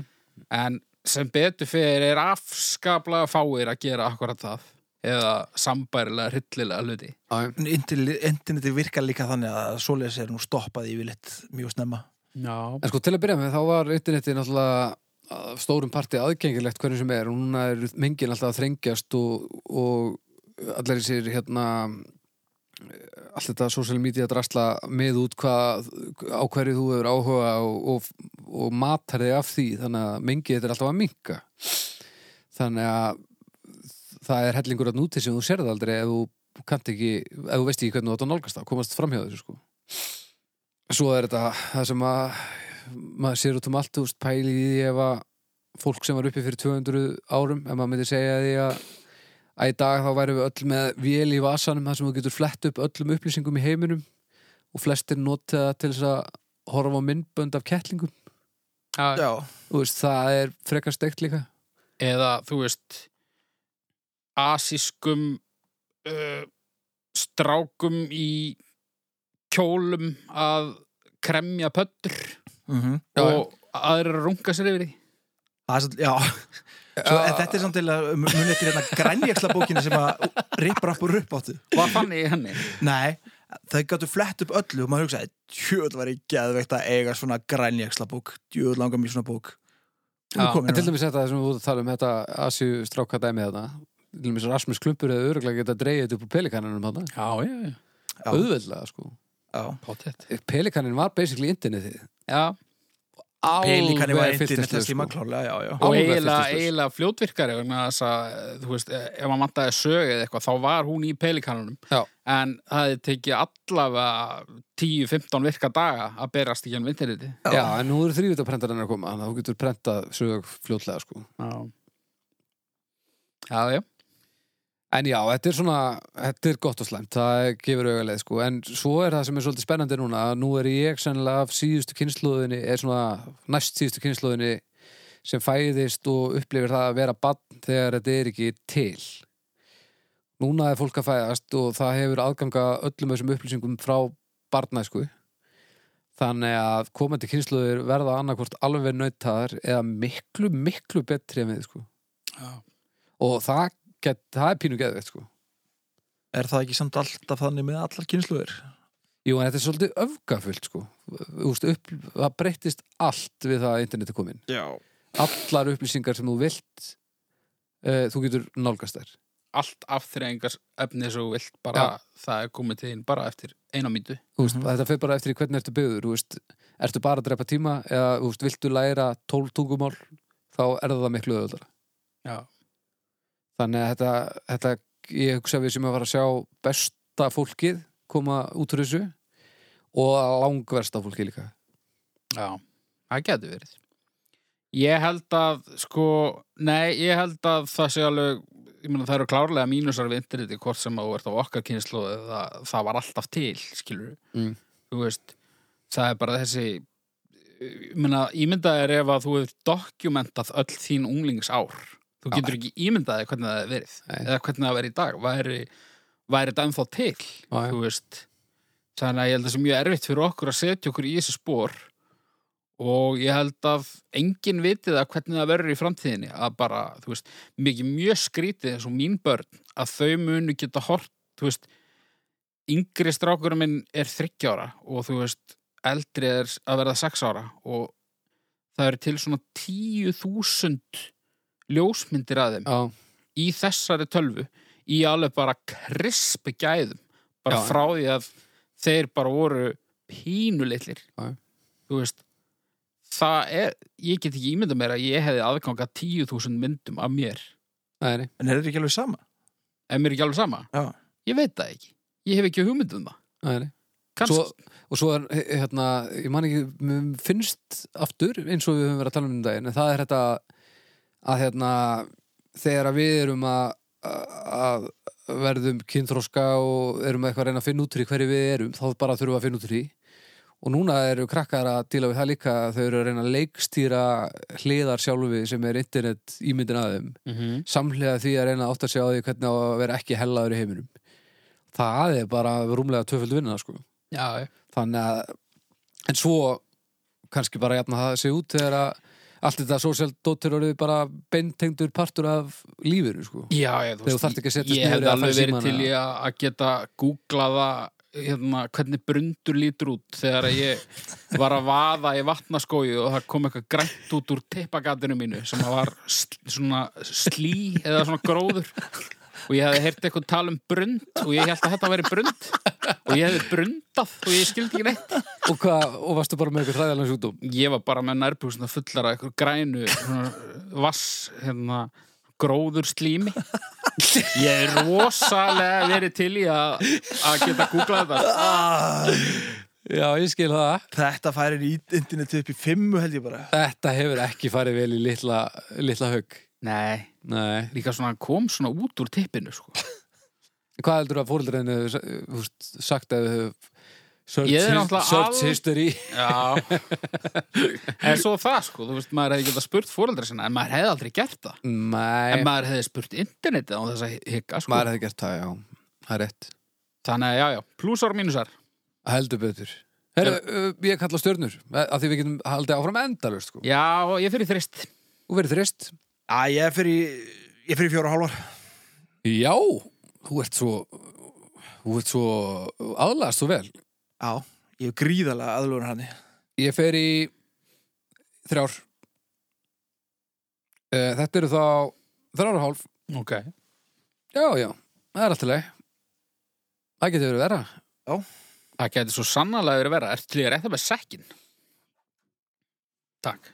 S1: en sem betur fyrir er afskaplega fáir að gera akkurat það eða sambærilega hryllilega hluti
S3: Já, já.
S2: En interli- Internetið virkar líka þannig að svoleiðis er nú stoppað yfirleitt mjög snemma
S1: Já,
S3: En sko til að byrja með þá var internetið náttúrulega að stórum parti aðgengilegt hvernig sem er og núna er mengin alltaf að þrengjast og, og allar þessir hérna allt þetta social media drasla með út hvað, á hverju þú hefur áhuga og, og, og matar þig af því þannig að mengið þetta er alltaf að minka þannig að það er hellingur að núti sem þú sérð aldrei ef þú kannt ekki, ef þú veist ekki hvernig þú átt að nálgast það, komast framhjá þessu sko svo er þetta það sem að maður sér út um allt, þú veist, pæli í því ef að fólk sem var uppi fyrir 200 árum ef maður myndi segja því að að í dag þá værum við öll með vél í vasanum þar sem þú getur flett upp öllum upplýsingum í heiminum og flestir notið það til þess að horfa á myndbönd af kettlingum
S1: já,
S2: Já,
S3: þú veist, það er frekar steikt líka
S1: eða þú veist asískum uh, strákum í kjólum að kremja pöttur
S2: mhm.
S3: Já, já.
S1: og aðrir að runga sér yfir því
S2: Það er svolítið- já. Svo, en þetta er samt til að munið til hérna grænjaksla bókina sem að rippar upp og rupp áttu
S1: Hvað fann ég í henni?
S2: Nei, þau gætu flett upp öllu og maður hugsaði, tjöðl var ég geðveikt að eiga svona grænjaksla bók tjöðl langar mér svona bók hérna. Hún
S1: Já,
S2: er komin
S3: En til
S2: núna.
S3: dæmis þetta sem við vorum að tala um þetta Asju stráka dæmi þetta til dæmis Rasmus Klumpur eða öruglega geta dreigið þetta upp úr pelikananum þetta,
S1: Já, já, já,
S2: Já.
S3: auðveldlega sko
S2: Já.
S1: pottet
S3: pelikanin var basically internetið
S1: Já,
S2: Pelikani var
S3: alveg
S2: eintinn þess tíma
S3: fylltist
S2: klálega, já, já
S1: og
S3: Alveg
S1: eiginlega,
S3: fyrstislaus.
S1: eiginlega fljótvirkari vegna þess að, eh, þú veist, eh, ef hann vantaði sög eða eitthvað, þá var hún í pelikanunum
S3: Já.
S1: en það hefði tekið allavega 10-15 virka daga að berast í hann vinterliti
S3: já, en nú eru þrývitaprentarinnar að koma þannig að þú getur prentað sög fljótlega sko.
S1: Já, já, já
S3: en já, þetta er svona, þetta er gott og slæmt það gefur auðvitað sko. en svo er það sem er svolítið spennandi núna að nú er ég sennilega af síðustu kynnslóðinni er svona næst síðustu kynnslóðinni sem fæðist og upplifir það að vera bann þegar þetta er ekki til núna er fólk að fæðast og það hefur aðganga öllum þessum upplýsingum frá barnæsku þannig að komandi kynsluður verða annarkvort alveg nautaðar eða miklu, miklu betri en við sko.
S1: Já.
S3: og það, get, það er pínu geðveikt sko.
S2: Er það ekki samt alltaf þannig með allar kynsluður?
S3: Jú, en þetta er svolítið öfgafullt sko. Úst, upp, það breyttist allt við það að interneti komin
S2: Já
S3: allar upplýsingar sem þú vilt uh, þú getur nálgast þær
S1: allt afþreyingar efni svo vilt bara það er komið til þín bara eftir eina mítu
S3: Þú veist,
S2: Mhm.
S3: þetta fer bara eftir í hvernig ertu byggður þú veist, ertu bara að drepa tíma eða þú veist, viltu læra tólf tungumál þá er það miklu öðvöldara
S1: Já.
S3: þannig að þetta, þetta ég hugsa að við sem að fara að sjá besta fólkið koma út úr þessu og langversta fólkið líka
S1: Já, það getur verið Ég held að sko, nei, ég held að það sé alveg ég meina það eru klárlega mínusar við interneti hvort sem að þú ert á okkar kynslu það, það var alltaf til, skilur
S3: Mm.
S1: þú veist, það er bara þessi ég meina, ímyndað er ef að þú hefur dokumentað öll þín unglingsár þú getur ekki ímyndaði hvernig það er verið
S3: Nei.
S1: eða hvernig það er í dag væri, væri þetta ennþá til
S3: Já, já.
S1: þú veist þannig að ég held að það sé mjög erfitt fyrir okkur að setja okkur í þessi spór og ég held að enginn vitið að hvernig það verður í framtíðinni að bara, þú veist, mikið mjög skrítið eins og mín börn að þau munu geta hort, þú veist yngri strákurinn minn er 30 ára og þú veist, eldri er að verða 6 ára og það eru til svona 10.000 ljósmyndir að þeim
S3: já,
S1: í þessari tölvu í alveg bara krisp gæðum bara
S3: Já.
S1: frá því að þeir bara voru pínulitlir
S3: Já.
S1: þú veist það er, ég get ekki ímynda mér að ég hefði aðganga 10.000 myndum af mér
S3: nei, nei,
S2: En er þetta ekki alveg sama?
S1: en mér er ekki alveg sama,
S2: Já.
S1: ég veit það ekki ég hef ekki hugmynd um það
S3: nei, nei.
S1: Kannski,
S3: Svo, og svo er, he- hérna, ég man ekki mér finnst aftur eins og við höfum verið að tala um um daginn, en það er þetta að hérna þegar að við erum að, að að verðum kynþróska og erum eitthvað að reyna að finna út úr í hverju við erum þá bara þurfum við að finna út úr í og núna eru krakkar að díla við það líka að þau eru að reyna að leikstýra hliðar sjálfi sem er internet ímyndin að þeim
S1: mm -hmm.
S3: samhlega því að reyna að átta sig á því hvernig á að vera ekki hellaður í heiminum það er bara rúmlega töföld vinna sko
S1: já, já.
S3: þannig að en svo kannski bara jafna það sig út þegar að allt þetta social dóttir eru bara beintengdur partur af lífinu sko
S1: já, já, þú
S3: Þegar þú þarft ekki að
S1: ég
S3: setjast niður
S1: hefði
S3: eða
S1: alveg
S3: fara í
S1: verið
S3: símann
S1: til í að að geta googlaða hérna, hvernig brundur lítur út þegar að ég var að vaða í vatnaskóju og það kom eitthvað grænt út úr teppagatinu mínu sem að var sl svona slí eða svona gróður og ég hefði heyrt eitthvað tala um brund og ég held að þetta væri brund og ég hefði brundað og ég skildi ekki neitt
S3: og, hvað, og varstu bara með eitthvað hræðalega sjúkdóm
S1: ég var bara með nærbúksuna fullar af eitthvað grænu svona, vass hérna, gróður slími ég er rosalega verið til í að að geta googlað þetta
S3: já ég skil það
S2: Ah. Þetta færir í internetu upp í fimmu held ég bara.
S3: þetta hefur ekki farið vel í litla, litla högg
S1: nei,
S3: nei
S1: líka svona hann kom svona út úr tippinu sko.
S3: hvað heldur að fóreldreinu húst, sagt að þau höf search,
S1: Ég er
S3: his-
S1: náttúrulega
S3: search
S1: al-
S3: history
S1: já en svo það sko, þú veist, maður hefði geta spurt fóreldra sinna en maður hefði aldrei gert það en
S3: nei,
S1: maður hefði spurt internetið á þess að higga sko.
S3: maður hefði gert það já, það er rétt
S1: þannig að já, já, plusar og mínusar
S3: heldur betur Heru, ég kalla stjörnur, af því við getum haldið áfram endalust sko.
S1: já, og ég fyrir þrist
S3: og verið þrist
S2: Æ, ég fyrir, ég fyrir fjóra og hálfar.
S3: Já, þú ert svo þú ert svo aðlagast svo vel
S2: Já, ég er gríðalega aðlugur hann.
S3: Ég fer í þrjár Eh, Þetta eru þá þrjár og hálf
S1: ok,
S3: Já, já, það er alltaf leið Það getur verið vera
S1: það getur svo sannarlega verið að vera ertu til í að rétta með sekkin takk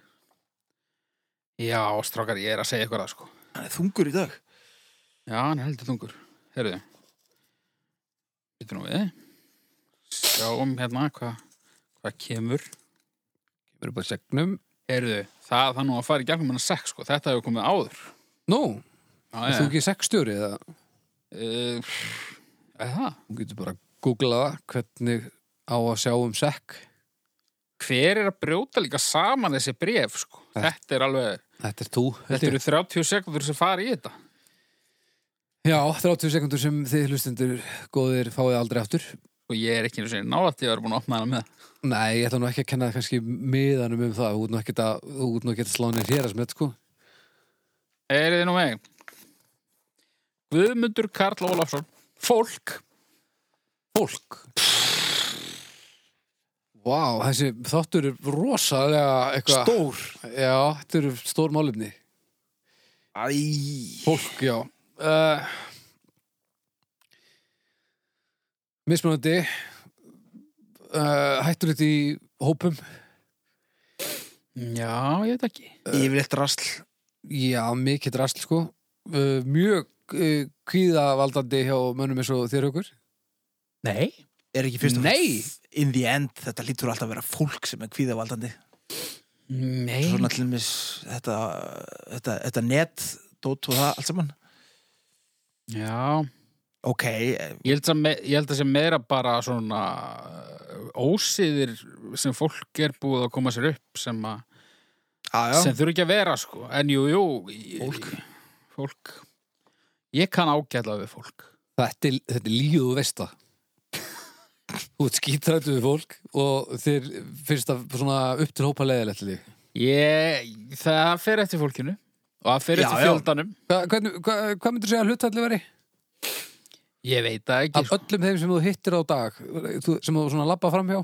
S1: já, strákar, ég er að segja ykkur það sko
S2: Hann er þungur í dag.
S1: já, hann er heldur tungur, heyrðu getur nú við sjáum hérna hvað hvað kemur
S3: Við erum bara segnum
S1: heyrðu, það, það nú að fara í gegnum hennar sekk sko þetta hefur komið áður
S3: Nú,
S1: já,
S3: er þú ekki sexstjóri eða
S1: uh, það
S3: þú getur bara að googla það hvernig á að sjá um sekk
S1: hver er að brjóta líka saman þessi bref sko þetta er alveg,
S3: Þetta er þú
S1: þetta eru 30 sekundur sem fara í þetta
S3: Já, 30 sekundur sem þið hlustendur góðir fáið aldrei aftur
S1: og ég er ekki einu sinni nálætt ég var búin að opna hana með
S3: Nei, ég ætla nú ekki að kenna kannski miðanum um það, þú út nú ekki að, þú út nú ekki að slá nýr hér að smett, sko.
S1: Eyrið nú með Guðmundur Karl Ólafsson Fólk
S3: Fólk. Vá, þessi þáttur er rosalega eitthvað.
S2: Stór.
S3: Já, þetta eru stór málefni.
S2: Æ,
S3: Fólk, já. Uh, mismunandi, uh, hættur þetta í hópum.
S1: Já, ég veit ekki
S2: yfirleitt rasl.
S3: Já, mikið drasl, sko. Uh, mjög uh, kvíðavaldandi hjá mönnum eins og þér okkur.
S1: Nei
S2: Er ekki fyrst og
S3: Nei.
S2: fremst- In the end, þetta lítur alltaf að vera fólk sem er kvíðavaldandi.
S1: Nei
S2: Svona til mis þetta, þetta, þetta net, dót og það allt saman.
S1: Já,
S2: ok, eh,
S1: ég held að, me- ég held að sem meira bara svona uh, ósiðir sem fólk er búið að koma sér upp sem, a,
S2: já, já.
S1: sem þurfi ekki að vera sko. En jú, jú, ég, fólk. Ég kann ágætla við fólk.
S3: Þetta er, þetta er líðu veist það Þú ert skítrættu við fólk og þér finnst það svona upp til hópa leðilegt líf
S1: Ég, það fer eftir fólkinu og það fer
S2: Já,
S1: eftir
S2: já.
S1: fjöldanum.
S3: Hva, hvernig, hva, Hvað myndir segja að hlutfalli veri?
S1: Ég veit það ekki, sko.
S3: Af öllum þeim sem þú hittir á dag þú- sem þú svona labba framhjá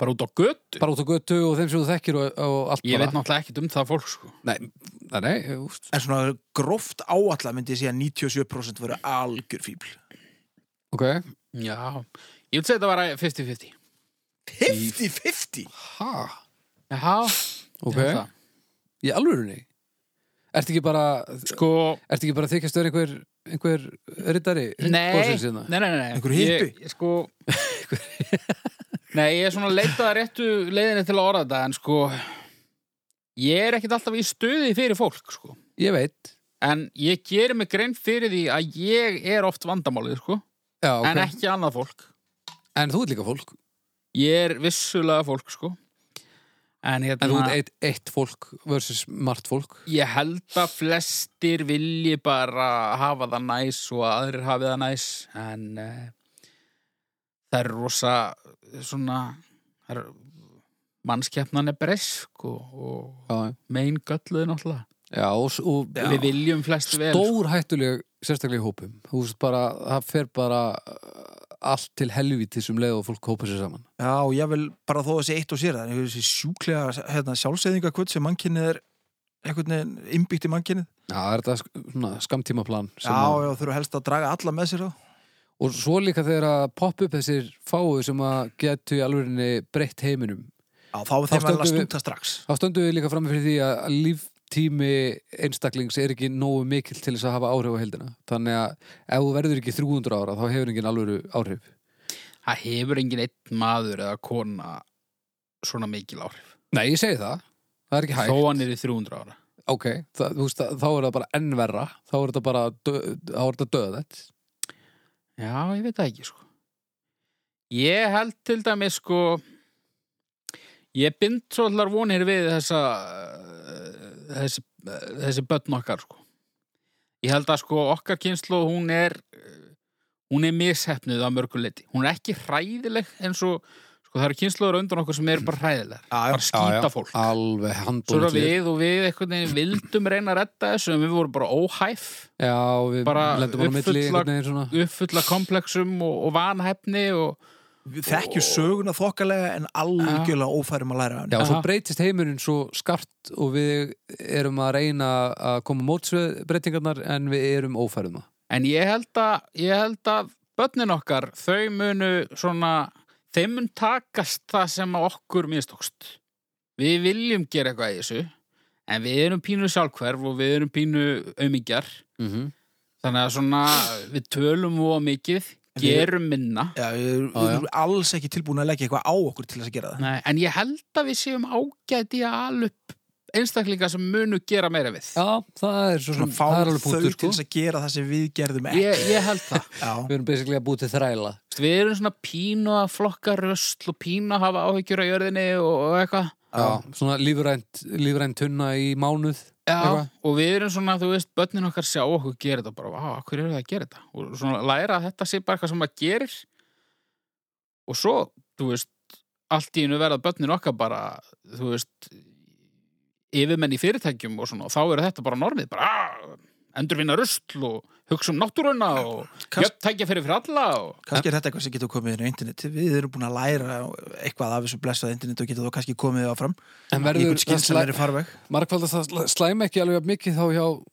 S1: bara út á götu.
S3: bara út á götu og þeim sem þú þekkir og, og allt
S1: Ég veit
S3: bara
S1: náttúrulega ekkert um það fólk sko.
S3: Nei, nei, nei úst.
S2: en svona gróft áallar myndi ég segja að 97% voru algjör fíbl
S3: Ok
S1: Já, ég vil segja þetta var 50-50.
S2: 50-50?
S3: Ha?
S1: Já,
S3: Ok
S1: það er það.
S3: Í alvörunni? Ertu ekki bara Ertu
S1: Sko,
S3: ekki bara að þykjast vera einhver einhver hérna? rittari
S1: nei, nei, nei, nei.
S2: Einhver
S1: Ég-
S2: hippi?
S1: ég Sko, nei, ég er svona að leita að réttu leiðinni til að orða þetta, en sko, ég er ekkert alltaf í stuði fyrir fólk, sko.
S3: Ég veit
S1: En ég gerir mig grein fyrir því að ég er oft vandamálið, sko,
S3: Já, ok
S1: en ekki annað fólk.
S3: En þú ert líka fólk
S1: Ég er vissulega fólk, sko. En hérna...
S3: En þú ert eitt, eitt fólk versus margt fólk
S1: Ég held að flestir vilji bara hafa það næs og að aðrir hafi það næs en uh, það er rosa svona það er, mannskeppnan er bresk og, og
S3: Já, já.
S1: megin gölluði náttúrulega.
S3: já og, s- og
S1: Við viljum flest vel. sko.
S3: stór hættuleg sérstaklega í hópum Þú veist bara, það fer bara uh, allt til helvítis um leið og fólk hópa sér saman
S2: Já, og ég vil bara þó þessi eitt og sér þannig að þessi sjúklega hérna, sjálfseyðinga hvort sem mannkynnið er einhvern veginn innbyggt í mannkynnið
S3: Já, það er þetta sk- svona skamtímaplan sem
S2: Já,
S3: að-
S2: já, þurfa helst að draga alla með sér þá
S3: Og svo líka þegar að poppa upp þessir fáu sem að getu í alvörinni breytt heiminum
S2: Já, þá er þeim
S3: stöndum
S2: alveg að
S3: við-
S2: stúta strax
S3: Þá stöndum við líka fram fyrir því að að líftími einstaklings er ekki nógu mikill til þess að hafa áhrif á heldina Þannig að ef þú verður ekki 300 ára þá hefur engin alvöru áhrif
S1: Það hefur engin einn maður eða kona svona mikil áhrif.
S3: Nei, ég segi það, það er ekki hægt
S1: Þó hann er í 300 ára.
S3: Ok, það, þú veist, það- þá er það bara ennverra þá er þetta bara dö, þá er þetta döðett
S1: Já, ég veit það ekki sko. Ég held til dæmis sko ég bind svolítið vonir við þessa eh, þessi, eh, þessi börn okkar sko. Ég held að sko okkar kynslu hún er eh, hún er mishefnuð að mörgu leiti. Hún er ekki hræðileg eins og sko það eru kynsluður undan okkur sem eru bara hræðilegar.
S2: Já,
S1: Bara skýta fólk.
S3: Alveg
S1: Svo eru
S3: handbólið
S1: við og við einhvern veginn vildum reyna að redda þessu en við vorum bara óhæf
S3: Já, við
S1: Bara
S3: lendum bara á milli
S1: uppfulla-
S3: einhvern veginn svona
S1: uppfulla komplexum og, og vanhefni og
S2: við þekkjum söguna þokkalega en algjörlega ófærum að læra hann
S3: Já,
S1: Aha.
S3: svo breytist heimurinn svo skarpt og við erum að reyna að koma mótsbreytingarnar en við erum ófærum það.
S1: En ég held að, ég held að börnin okkar, þau munu svona, þeim mun takast það sem að okkur mistókst. Við viljum gera eitthvað í þessu, en við erum pínu sjálfhverf og við erum pínu aumingjar.
S3: Mm -hmm.
S1: Mhm. Þannig að svona, við tölum og mikið,
S2: En við-
S1: gerum minna.
S2: Já, við erum-
S3: Já,
S2: við
S3: já.
S2: erum alls ekki tilbúin að leggja eitthvað á okkur til þess að gera það
S1: Nei, en ég held að við séum ágæti að ala upp einstaklinga sem munu gera meira við.
S3: Já, það er svo sem,
S2: Svona
S3: það er
S2: fá
S3: alveg
S2: þau
S3: punktur,
S2: til
S3: sko.
S2: þess að gera það sem við gerðum ekki
S1: Ég, ég held það.
S2: Já,
S3: Við erum basically að búið til þræla.
S1: Við erum svona pínu að flokka rösl og pínu að hafa áhyggjur á jörðinni og, og eitthvað.
S3: Já, svona lífrænt, lífrænt tunna í mánuð.
S1: Já,
S3: Eitthvað?
S1: og við erum svona, þú veist, börnin okkar sjá okkur gera þetta bara, vá, hver eru það að gera þetta? Og svona læra að þetta sé bara eitthvað sem maður gerir og svo, þú veist, allt í einu verða börnin okkar bara, þú veist, yfirmenn í fyrirtækjum og svona, og þá eru þetta bara normið, bara, "Ah, endurvinna rusl og hugsa um náttúruna og
S2: Kast-
S1: jöfn tækja fyrir fyrir alla og...
S2: kannski er þetta eitthvað sem getur komið inn á interneti Við erum búin að læra eitthvað af þessu blessað internet og getur þá kannski komið það fram
S3: En
S2: í
S3: verður
S2: einhvern skynsamari farveg
S3: markvaldast að slæ- slæma ekki alveg jafn mikið þá hjá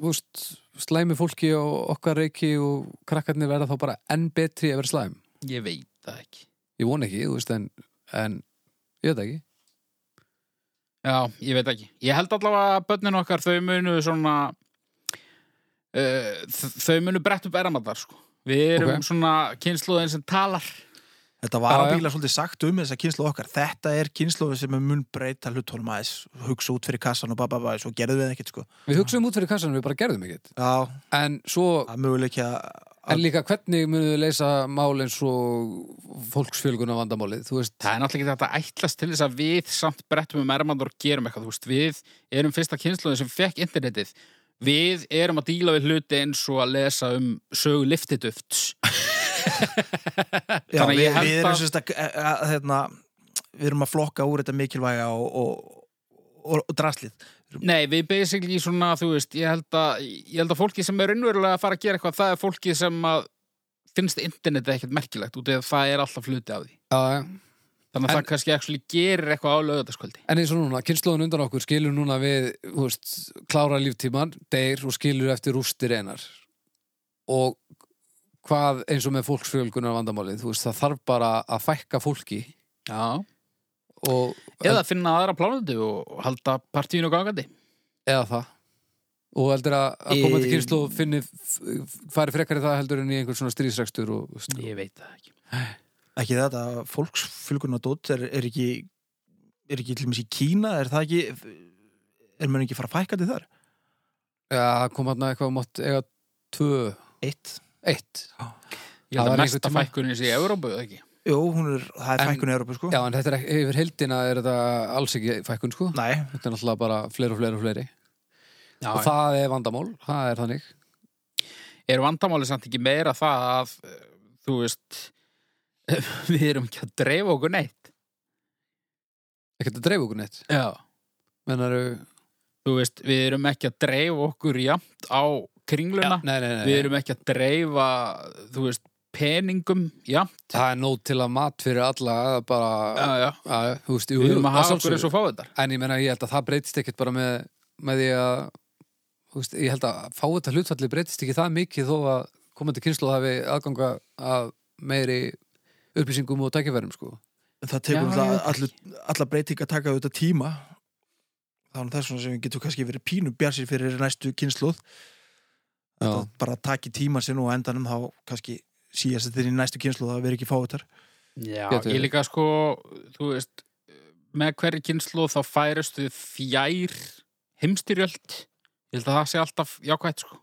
S3: úst, slæmi fólki og okkar reiki og krakkarnir verða þá bara enn betri ef er slæm.
S1: Ég veit það ekki.
S3: Ég von ekki, þú veist, en, en ég veit það ekki.
S1: Já, ég veit ekki. Ég held allavega að börnin okkar, þau munu svona eh, uh, þau munu brett upp eramatar, sko. Við erum
S3: Ok.
S1: svona kynsluðin sem talar.
S2: Þetta var
S3: Já, já.
S2: ábyggilega svolítið sagt um þessa kynslu okkar. Þetta er kynslu sem er mun breyta hlutónum aðeins, hugsa út fyrir kassan og bababæ, svo gerðum við ekkert sko.
S3: Við hugsaum út fyrir kassanum, við bara gerðum ekkert
S2: Já,
S3: En svo,
S2: það er möguleika að...
S3: en líka hvernig munum við leysa mál eins og fólksfjölguna vandamálið, þú veist
S1: Það er náttúrulega ekki þetta að ætlast til þess að við samt brettum um ermandur og gerum eitthvað, þú veist, við erum fyrsta kynsluðin sem fekk internetið. Við erum að díla við hluti eins og að lesa um sögu liftiduft.
S2: Já,
S1: þannig að
S2: við,
S1: ég held
S2: við erum
S1: að-
S2: sérst að, að, að hérna, við erum að flokka úr þetta mikilvæga og, og, og, og draslið.
S1: Nei, við basically svona, þú veist, ég held að, ég held að fólki sem er unnverulega að fara að gera eitthvað, það er fólki sem að finnst internetið ekkert merkilegt út eða það er alltaf hluti af því.
S3: Já, já
S1: Þannig að
S3: En-
S1: það kannski actually gerir eitthvað á lögataskvöldi.
S3: En eins og núna, kynnslóðin undan okkur skilur núna við, þú veist, klára líftíman, deyr og skilur eftir rústir einar. Og hvað eins og með fólksfjölgunar vandamálið, þú veist, það þarf bara að fækka fólki
S1: Já.
S3: og,
S1: Eða finna aðra plánutu og halda partíinu gangandi.
S3: eða það. Og heldur að, að
S2: Í-
S3: komandi kynnslóð finni, f- fari frekar í það heldur en í einhvern svona stríðsrekstur og, þú veist,
S1: Ég veit það ekki.
S2: Ekki þetta, fólksfylgunadótt er, er ekki, er ekki til dæmis í Kína, er það ekki, er mönn ekki fara að fækka til þar?
S3: já, það kom hann eitthvað um átt, eiga tvö,
S2: Eitt.
S3: eitt.
S1: Ég held
S3: Það var
S1: að
S3: einhver
S1: mesta
S3: tíma-
S1: fækkunin sé í Európu, eða ekki?
S2: Jú, hún er, það er
S3: En-
S2: fækkun í Európa sko.
S3: Já, en þetta er ekki, yfir heldina er þetta alls ekki fækkun, sko.
S2: Nei,
S3: Þetta er náttúrulega bara fleiri og fleiri og fleiri.
S1: Já,
S3: og það er vandamál, það er þannig
S1: er vandamáli samt ekki meira það að, eh, þú veist, við erum ekki að dreifa okkur neitt.
S3: ekkert að dreifa okkur neitt
S1: Já.
S3: Menar,
S1: Þú veist, við erum ekki að dreifa okkur jafnt á kringluna.
S3: nei, nei, nei,
S1: Við erum ekki að dreifa, þú veist, peningum jafnt.
S3: það er nót til að mat fyrir alla það er bara,
S1: Já, já.
S3: að, þú veist, Ah, jú,
S1: Við erum að hafa
S3: sjálfsögðu.
S1: okkur eins og fáið þar.
S3: en ég meina, ég held að það breytist ekkert bara með, með því að þú veist, ég held að fá þetta hlutfalli breytist ekki það mikið þó að komandi kynslu hafi aðganga að meiri upplýsingum og tækifærum sko.
S2: það tekur
S1: Já,
S2: um
S1: ég
S2: það
S1: veit
S2: alla breyting að taka auðvitað tíma þannig þess vegna sem við getum kannski verið pínu bjarsir fyrir næstu kynsluð
S3: Já.
S2: það bara taki tíma sinn og á endanum þá kannski síðast þetta er í næstu kynsluð að vera ekki fáið þar
S1: Já,
S3: Getur
S1: ég
S3: verið.
S1: líka sko, þú veist, með hverju kynslu þá færist við fjær heimstyrjöld. Ég held að það sé alltaf jákvætt sko.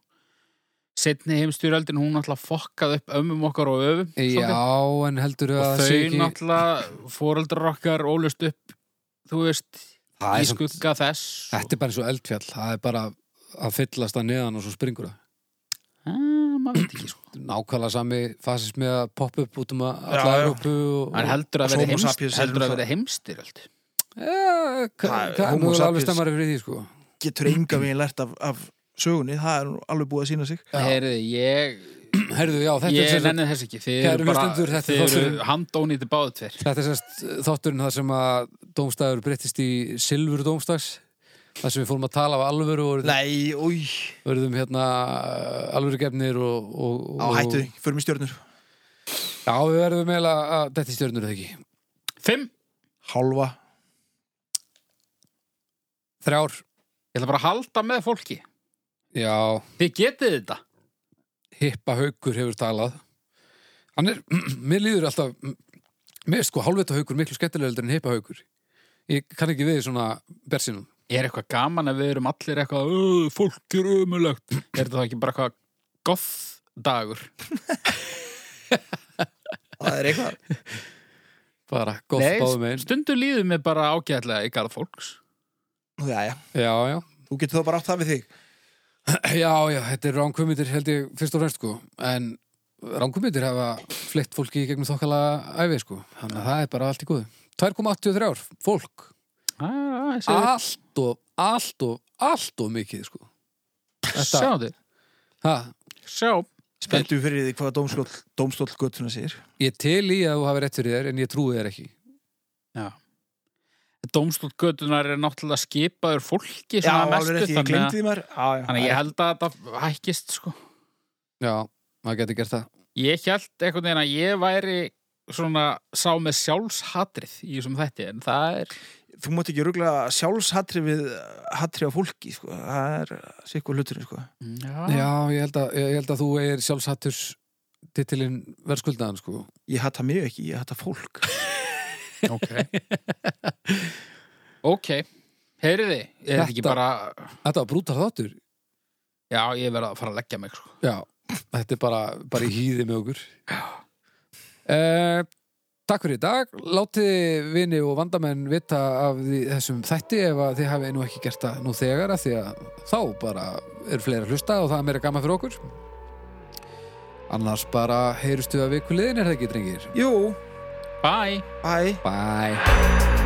S1: Setni heimstyrjöldin, hún alltaf fokkað upp ömmum okkar og öfum. svolítið.
S3: já, en heldur
S1: og
S3: að
S1: þau
S3: það sé ekki
S1: náttúrulega foreldrar okkar ólust upp þú veist, í
S3: Það er samt-
S1: skugga þess
S3: þetta er bara eins og eldfjall það er bara að fyllast að neðan og svo springur það
S1: Ah, maður veit ekki sko
S3: nákvæmlega sami fasismi að poppa upp út um að alla
S2: Já, já.
S3: Európu og,
S1: en heldur að
S2: Homo
S1: vera heimst,
S2: sapiens er
S1: heldur að
S2: náttúrulega-
S1: vera heimstir heldur.
S3: ja,
S2: Það er
S3: hvað
S2: homo
S3: nú er alveg
S2: sapiens.
S3: stemmari fyrir því sko
S2: getur
S1: Mm.
S2: enga veginn lært af, af sögunni það er nú alveg búið að sína sig
S1: Heyrðu, ég
S3: herðu, já, þetta
S1: ég
S3: er sem sagt-
S1: nenni þess ekki þið
S3: Kæru
S1: eru
S3: hlustendur,
S1: bara,
S3: þetta
S1: þið
S3: er þátturinn.
S1: eru handónýti báðu tver
S3: þetta er sérst þátturinn það sem að dómstæður breyttist í silfur dómstæðs þar sem við fórum að tala af alvöru og verðum-
S2: Nei, új,
S3: verðum hérna alvöru gefnir og, og,
S2: á
S3: og
S2: hættu, förum í stjörnur
S3: já, við verðum eiginlega að þetta stjörnur er það ekki
S1: fimm,
S2: Hálfa,
S3: þrjár,
S1: ég ætla bara að halda með fólki
S3: já,
S1: þið getið þetta
S3: hippa haukur hefur talað hann er, mér líður alltaf mér er sko hálfvita haukur miklu skemmtilega heldur en hippa haukur ég kann ekki við svona bersinum
S1: er eitthvað gaman að við erum allir eitthvað "Ö, fólk er ömulegt er þetta þá ekki bara eitthvað goth dagur
S2: það er eitthvað
S3: bara gott
S1: Nei,
S3: báðum einn
S1: stundu líður mér bara ágætlega í garð fólks
S2: Nú, Jæja,
S3: já, já,
S2: þú getur þá bara átt það við þig
S3: já, já, þetta er ránkvömyndir held ég fyrst og fremst sko en ránkvömyndir hafa flytt fólki í gegnum þokkala æfi sko þannig að það er bara allt í góðu 2,83 ár, fólk
S1: ah, ég segi
S3: allt og, allt og, allt og mikið sko
S1: Sjá
S3: þetta,
S1: þið,
S3: ha,
S1: sjá
S2: spenntu fyrir því hvað dómstóll, dómstóll göttuna segir
S3: Ég til í að þú hafi rétt fyrir þér en ég trúi þér ekki.
S1: Dómstóttgötunar er náttúrulega skipaður fólki
S2: Já,
S1: svona að
S2: alveg
S1: mestu,
S2: rétt, ég
S1: þannig
S2: glemdi
S1: að-
S2: því maður Já, já,
S1: Þannig að ég held að þetta hækkist sko.
S3: Já, maður getur gert það.
S1: Ég held einhvern veginn að ég væri svona sá með sjálfshatrið í þessum þætti en það er
S2: þú mátt ekki rugla sjálfshatri við hatri á fólki, sko. Það er sikkur hluturinn, sko.
S1: Já,
S3: Já, ég held að, ég held að þú eigir sjálfshattur titilinn verðskuldaðan sko
S2: Ég hata mig ekki, ég hata fólk
S1: Ok Ok, heyriði Er þetta ekki
S3: Þetta-
S1: bara
S3: Þetta var brútal þáttur
S1: Já, ég verða að fara að leggja mig sko.
S3: Já, þetta er bara, bara í hýði með okkur uh, Takk fyrir í dag Látið vini og vandamenn vita af því, þessum þætti ef að þið hafi nú ekki gert það nú þegar af því að þá bara er fleira að hlusta og það er meira gaman fyrir okkur Annars bara heyrustu að vikulegin er það ekki, drengir
S2: Jú,
S1: Bye
S2: bye
S3: Bye